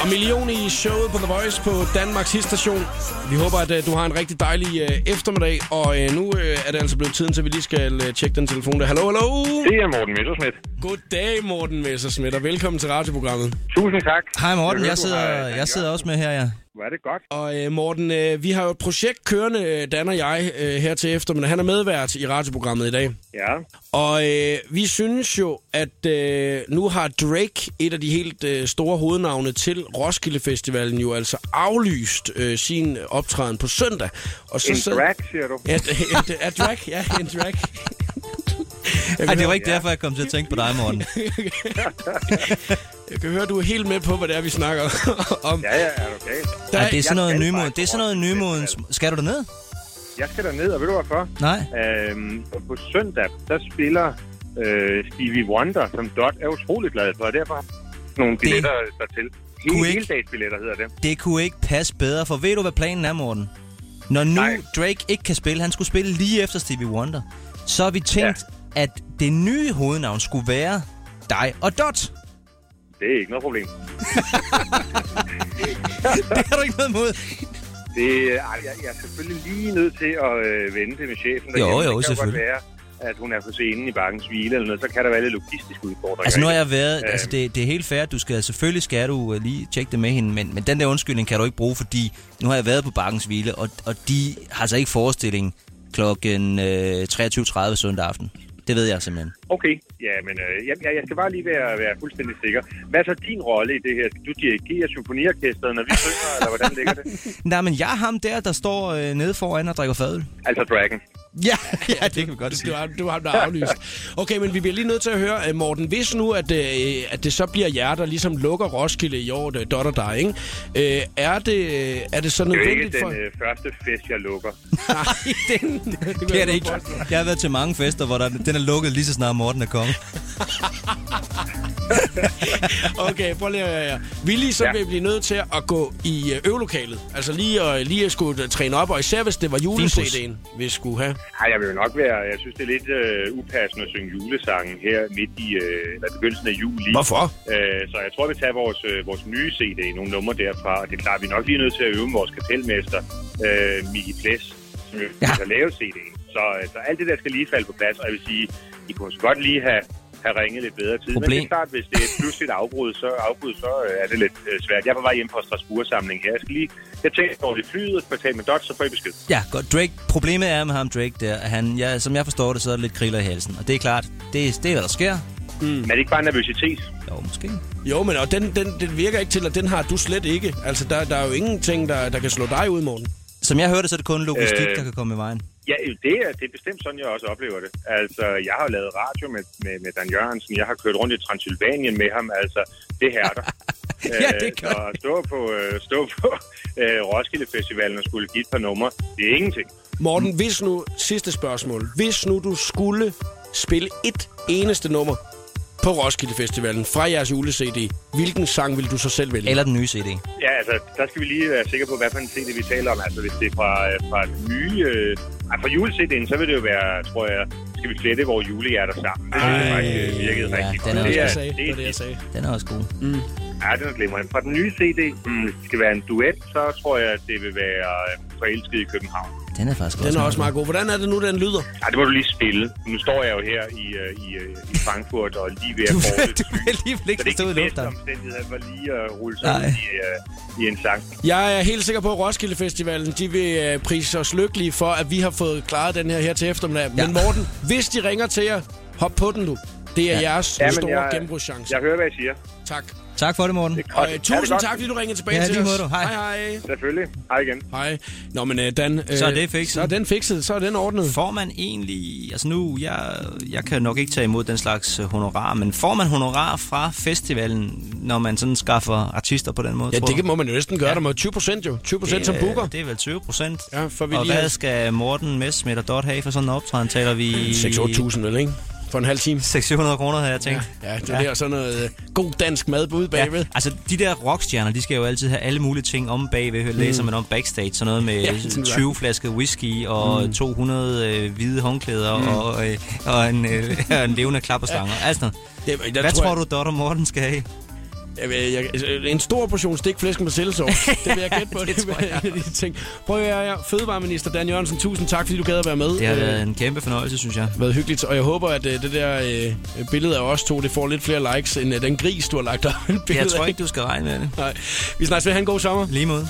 [SPEAKER 1] og Million i showet på The Voice på Danmarks Hitstation. Vi håber, at øh, du har en rigtig dejlig øh, eftermiddag, og øh, nu øh, er det altså blevet tiden til, at vi lige skal øh, tjekke den telefon der. Hallo, hallo!
[SPEAKER 10] Det er Morten Messerschmidt.
[SPEAKER 1] Goddag, Morten Messerschmidt, og velkommen til radioprogrammet.
[SPEAKER 10] Tusind tak.
[SPEAKER 2] Hej Morten,
[SPEAKER 10] hører,
[SPEAKER 2] jeg
[SPEAKER 10] du
[SPEAKER 2] sidder,
[SPEAKER 10] har-
[SPEAKER 2] jeg sidder også med her, ja.
[SPEAKER 10] Hvor er det godt.
[SPEAKER 1] Og øh, Morten, øh, vi har jo et projekt kørende, øh, Dan og jeg, øh, her til eftermiddag. Han er medvært i radioprogrammet i dag.
[SPEAKER 10] Ja.
[SPEAKER 1] Og øh, vi synes jo, at øh, nu har Drake, et af de helt øh, store hovednavne til Roskilde Festivalen, jo altså aflyst øh, sin optræden på søndag. Og så
[SPEAKER 10] En
[SPEAKER 1] sad-
[SPEAKER 10] drag, siger du.
[SPEAKER 1] Ja, d- er drag, ja, en drag. Jeg
[SPEAKER 2] Ej,
[SPEAKER 1] kan,
[SPEAKER 2] det var
[SPEAKER 1] høre,
[SPEAKER 2] ikke derfor, jeg kom til at tænke på dig, Morten.
[SPEAKER 1] jeg kan høre, du er helt med på, hvad det er, vi snakker om.
[SPEAKER 10] Ja, ja, er du okay?
[SPEAKER 2] Ej, det er sådan noget
[SPEAKER 10] skal
[SPEAKER 2] nymoden.
[SPEAKER 10] faktisk
[SPEAKER 2] Det er sådan noget
[SPEAKER 10] på
[SPEAKER 2] nymodens... Skal du derned?
[SPEAKER 10] Jeg skal derned, og ved du hvorfor?
[SPEAKER 2] Nej.
[SPEAKER 10] Øhm, på søndag, der spiller øh, Stevie Wonder, som Dot er utrolig glad for, og derfor har jeg nogle billetter det... dertil.
[SPEAKER 2] kunne
[SPEAKER 10] Hele,
[SPEAKER 2] ikke-
[SPEAKER 10] hele dags billetter hedder det.
[SPEAKER 2] Det kunne ikke passe bedre, for ved du, hvad planen er, Morten? Når nu Nej. Drake ikke kan spille, han skulle spille lige efter Stevie Wonder, så har vi tænkt, ja. at det nye hovednavn skulle være dig og Dot.
[SPEAKER 10] Det er ikke noget problem.
[SPEAKER 2] det har du ikke noget imod.
[SPEAKER 10] Det, ej, jeg, jeg er selvfølgelig lige nødt til at øh, vende det med chefen.
[SPEAKER 2] Jo,
[SPEAKER 10] derhjemme.
[SPEAKER 2] jo,
[SPEAKER 10] det kan
[SPEAKER 2] selvfølgelig.
[SPEAKER 10] godt være, at hun er på scenen i bakkens hvile eller noget, så kan der være lidt logistiske udfordringer.
[SPEAKER 2] Altså nu har
[SPEAKER 10] ikke?
[SPEAKER 2] jeg været,
[SPEAKER 10] Øhm,
[SPEAKER 2] altså det, det er helt fair, du skal, selvfølgelig skal du øh, lige tjekke det med hende, men, men den der undskyldning kan du ikke bruge, fordi nu har jeg været på Bakkens Hvile, og, og de har altså ikke forestilling klokken øh, 23.30 søndag aften. Det ved jeg simpelthen.
[SPEAKER 10] Okay, ja, men øh, jeg, jeg- jeg skal bare lige være, være fuldstændig sikker. Hvad er så din rolle i det her? Skal du dirigere symfoniorkestret, når vi synger, eller hvordan ligger det?
[SPEAKER 2] Nej, men jeg er ham der, der står øh, nede foran og drikker fadøl.
[SPEAKER 10] Altså Dragon.
[SPEAKER 2] Ja, ja, det kan vi godt
[SPEAKER 1] sige. Det var, det var ham, der er aflyst. Okay, men vi bliver lige nødt til at høre, øh, Morten, hvis nu, at, øh, at det så bliver jer, der ligesom lukker Roskilde i år, det er dot og dig, ikke? Øh, er, det, er det så
[SPEAKER 10] Det er jo ikke
[SPEAKER 1] nødvendigt
[SPEAKER 10] den
[SPEAKER 1] for...
[SPEAKER 10] øh, første fest, jeg lukker.
[SPEAKER 1] Nej, den, det, kan
[SPEAKER 2] Det er
[SPEAKER 1] jeg
[SPEAKER 2] det
[SPEAKER 1] godt
[SPEAKER 2] ikke.
[SPEAKER 1] forestille mig.
[SPEAKER 2] Jeg har været til mange fester, hvor der, den er lukket lige så snart Morten er kommet.
[SPEAKER 1] Okay, prøv lige at høre. Willy, så ja.
[SPEAKER 10] Ja.
[SPEAKER 1] vil blive nødt til at gå i øh, øvelokalet. Altså lige at, lige at skulle øh, træne op, og især hvis det var jule-CD'en, vi skulle have.
[SPEAKER 10] Ej, jeg vil jo nok være... Jeg synes, det er lidt øh, upassende at synge julesangen her midt i... Øh, eller begyndelsen af juli.
[SPEAKER 1] Hvorfor?
[SPEAKER 10] Øh, så jeg tror, vi tager vores, øh, vores nye CD, nogle numre derfra. Og det er klart, vi er nok lige nødt til at øve med vores kapelmester, øh, Miki Ples, som jo ja. har lavet CD'en. Så, øh, så alt det der skal lige falde på plads, og jeg vil sige, I kunne så godt lige have, have ringet lidt bedre tid. Men det
[SPEAKER 2] Problem.
[SPEAKER 10] er klart, hvis det er pludseligt afbrud, så, afbrud, så øh, er det lidt øh, svært. Jeg er på vej hjem fra Strasbourg-samling her. Jeg skal lige... Jeg tænker, at det flyet, og skal tale med Dot, så får I besked.
[SPEAKER 2] Ja, godt. Drake, problemet er med ham, Drake, der, at han, ja, som jeg forstår det, så er der lidt kriller i halsen. Og det er klart, det, det er, hvad der sker.
[SPEAKER 10] Men er det ikke bare nervøsitet?
[SPEAKER 2] Jo, måske.
[SPEAKER 1] Jo, men og den, den, den virker ikke til, at den har du slet ikke. Altså, der, der er jo ingenting, der, der kan slå dig ud, Morten.
[SPEAKER 2] Som jeg hørte, så er det kun logistik,
[SPEAKER 10] Øh.
[SPEAKER 2] der kan komme i vejen.
[SPEAKER 10] Ja, det er, det er bestemt sådan, jeg også oplever det. Altså, jeg har jo lavet radio med, med, med Dan Jørgensen. Jeg har kørt rundt i Transylvanien med ham. Altså, det hærder.
[SPEAKER 2] Ja, det gør
[SPEAKER 10] Så at Altså, stå på, øh, stå på øh, Roskilde Festivalen og skulle give et par numre, det er ingenting.
[SPEAKER 1] Morten, hvis nu, sidste spørgsmål. Hvis nu du skulle spille et eneste nummer på Roskilde Festivalen fra jeres jule-CD, hvilken sang vil du så selv vælge?
[SPEAKER 2] Eller den nye CD.
[SPEAKER 10] Ja, altså, der skal vi lige være sikre på, hvad for en CD vi taler om. Altså, hvis det er fra, øh, fra den nye... Øh, ej, fra jule-CD'en, så vil det jo være, tror jeg, skal vi flette vores julehjerter sammen. Det synes jeg
[SPEAKER 1] Ej,
[SPEAKER 10] faktisk øh, virkede
[SPEAKER 2] ja,
[SPEAKER 10] rigtig
[SPEAKER 2] den
[SPEAKER 10] godt.
[SPEAKER 2] er
[SPEAKER 1] Det,
[SPEAKER 2] også
[SPEAKER 1] var
[SPEAKER 10] er,
[SPEAKER 1] det, jeg sagde. Det var det, jeg sagde.
[SPEAKER 2] Den er også god.
[SPEAKER 10] Ja, den er glimrende. Fra den nye CD, mm, hvis det skal være en duet, så tror jeg, at det vil være øh, Forelsket i København.
[SPEAKER 2] Den er faktisk
[SPEAKER 1] Den er også meget god. Hvordan er det nu, den lyder?
[SPEAKER 10] Ja, det må du lige spille. Nu står jeg jo her i, øh, i, øh, i Frankfurt og lige ved at
[SPEAKER 2] Du,
[SPEAKER 10] få
[SPEAKER 2] du vil alligevel
[SPEAKER 10] Så
[SPEAKER 2] ikke
[SPEAKER 10] det er
[SPEAKER 2] stå i
[SPEAKER 10] ikke de bedste
[SPEAKER 2] lufthavn.
[SPEAKER 10] omstændigheder for lige at rulle sig
[SPEAKER 2] Nej.
[SPEAKER 10] ud i, øh, i en sang.
[SPEAKER 1] Jeg er helt sikker på, at Roskilde Festivalen de vil øh, prise os lykkelige for, at vi har fået klaret den her her til eftermiddag. Ja.
[SPEAKER 2] Ja.
[SPEAKER 1] Men Morten, hvis de ringer til jer, hop på den nu. Det er ja. jeres ja, store jeg, gennembrugschance.
[SPEAKER 10] jeg hører, hvad I siger.
[SPEAKER 1] Tak.
[SPEAKER 2] Tak for det, Morten.
[SPEAKER 1] Og,
[SPEAKER 10] Ha'
[SPEAKER 1] øh,
[SPEAKER 10] det godt.
[SPEAKER 1] tusind tak, fordi du ringede tilbage
[SPEAKER 2] Ja,
[SPEAKER 1] til
[SPEAKER 2] lige
[SPEAKER 1] os.
[SPEAKER 2] måde du. Hej.
[SPEAKER 1] hej. hej.
[SPEAKER 10] Selvfølgelig. Hej igen.
[SPEAKER 1] Hej. Nå, men øh, Dan... Øh,
[SPEAKER 2] Så er det fikset.
[SPEAKER 1] Så er den fikset. Så er den ordnet.
[SPEAKER 2] Får man egentlig, altså nu, jeg, jeg kan nok ikke tage imod den slags øh, honorar, men får man honorar fra festivalen, når man sådan skaffer artister på den måde?
[SPEAKER 1] Ja,
[SPEAKER 2] tror
[SPEAKER 1] det
[SPEAKER 2] du?
[SPEAKER 1] kan- må man jo næsten gøre. Ja. Der må 20 procent jo. 20 procent som
[SPEAKER 2] Det er-
[SPEAKER 1] booker.
[SPEAKER 2] Det er vel 20 procent.
[SPEAKER 1] Ja, for vi
[SPEAKER 2] og
[SPEAKER 1] lige
[SPEAKER 2] hvad
[SPEAKER 1] har-
[SPEAKER 2] skal Morten Messmith og Dot have for sådan en optræden? Taler vi...
[SPEAKER 1] 6-8.000, vel, ikke? For en halv time.
[SPEAKER 2] 600 kroner, havde jeg tænkt.
[SPEAKER 1] Ja, det er ja. der sådan noget øh, god dansk mad på ude bagved.
[SPEAKER 2] Ja, altså de der rockstjerner, de skal jo altid have alle mulige ting om bagved. Mm. Læser man om backstage, sådan noget med
[SPEAKER 1] Ja, sådan der.
[SPEAKER 2] ja, 20 flasker whisky og mm. 200 øh, hvide håndklæder mm. og, øh, og en, øh, og en levende klapperstanger. Altså, Hvad
[SPEAKER 1] Det, der
[SPEAKER 2] tror, tror du, Dot og Morten skal have?
[SPEAKER 1] Jeg, ved- jeg, altså, en stor portion stikflæsk med sildesovs. Det vil jeg gætte på.
[SPEAKER 2] det
[SPEAKER 1] det
[SPEAKER 2] tror
[SPEAKER 1] vil jeg lige tænke. Prøv at høre, her. fødevareminister Dan Jørgensen, tusind tak, fordi du gad at være med.
[SPEAKER 2] Det har
[SPEAKER 1] Øh,
[SPEAKER 2] været en kæmpe fornøjelse, synes jeg.
[SPEAKER 1] været hyggeligt, og jeg håber, at øh, det der øh, billede af os to, det får lidt flere likes, end øh, den gris, du har lagt op.
[SPEAKER 2] Jeg tror ikke, du skal regne med det.
[SPEAKER 1] Nej. Vi snakkes ved. Ha' en god sommer.
[SPEAKER 2] Lige måde.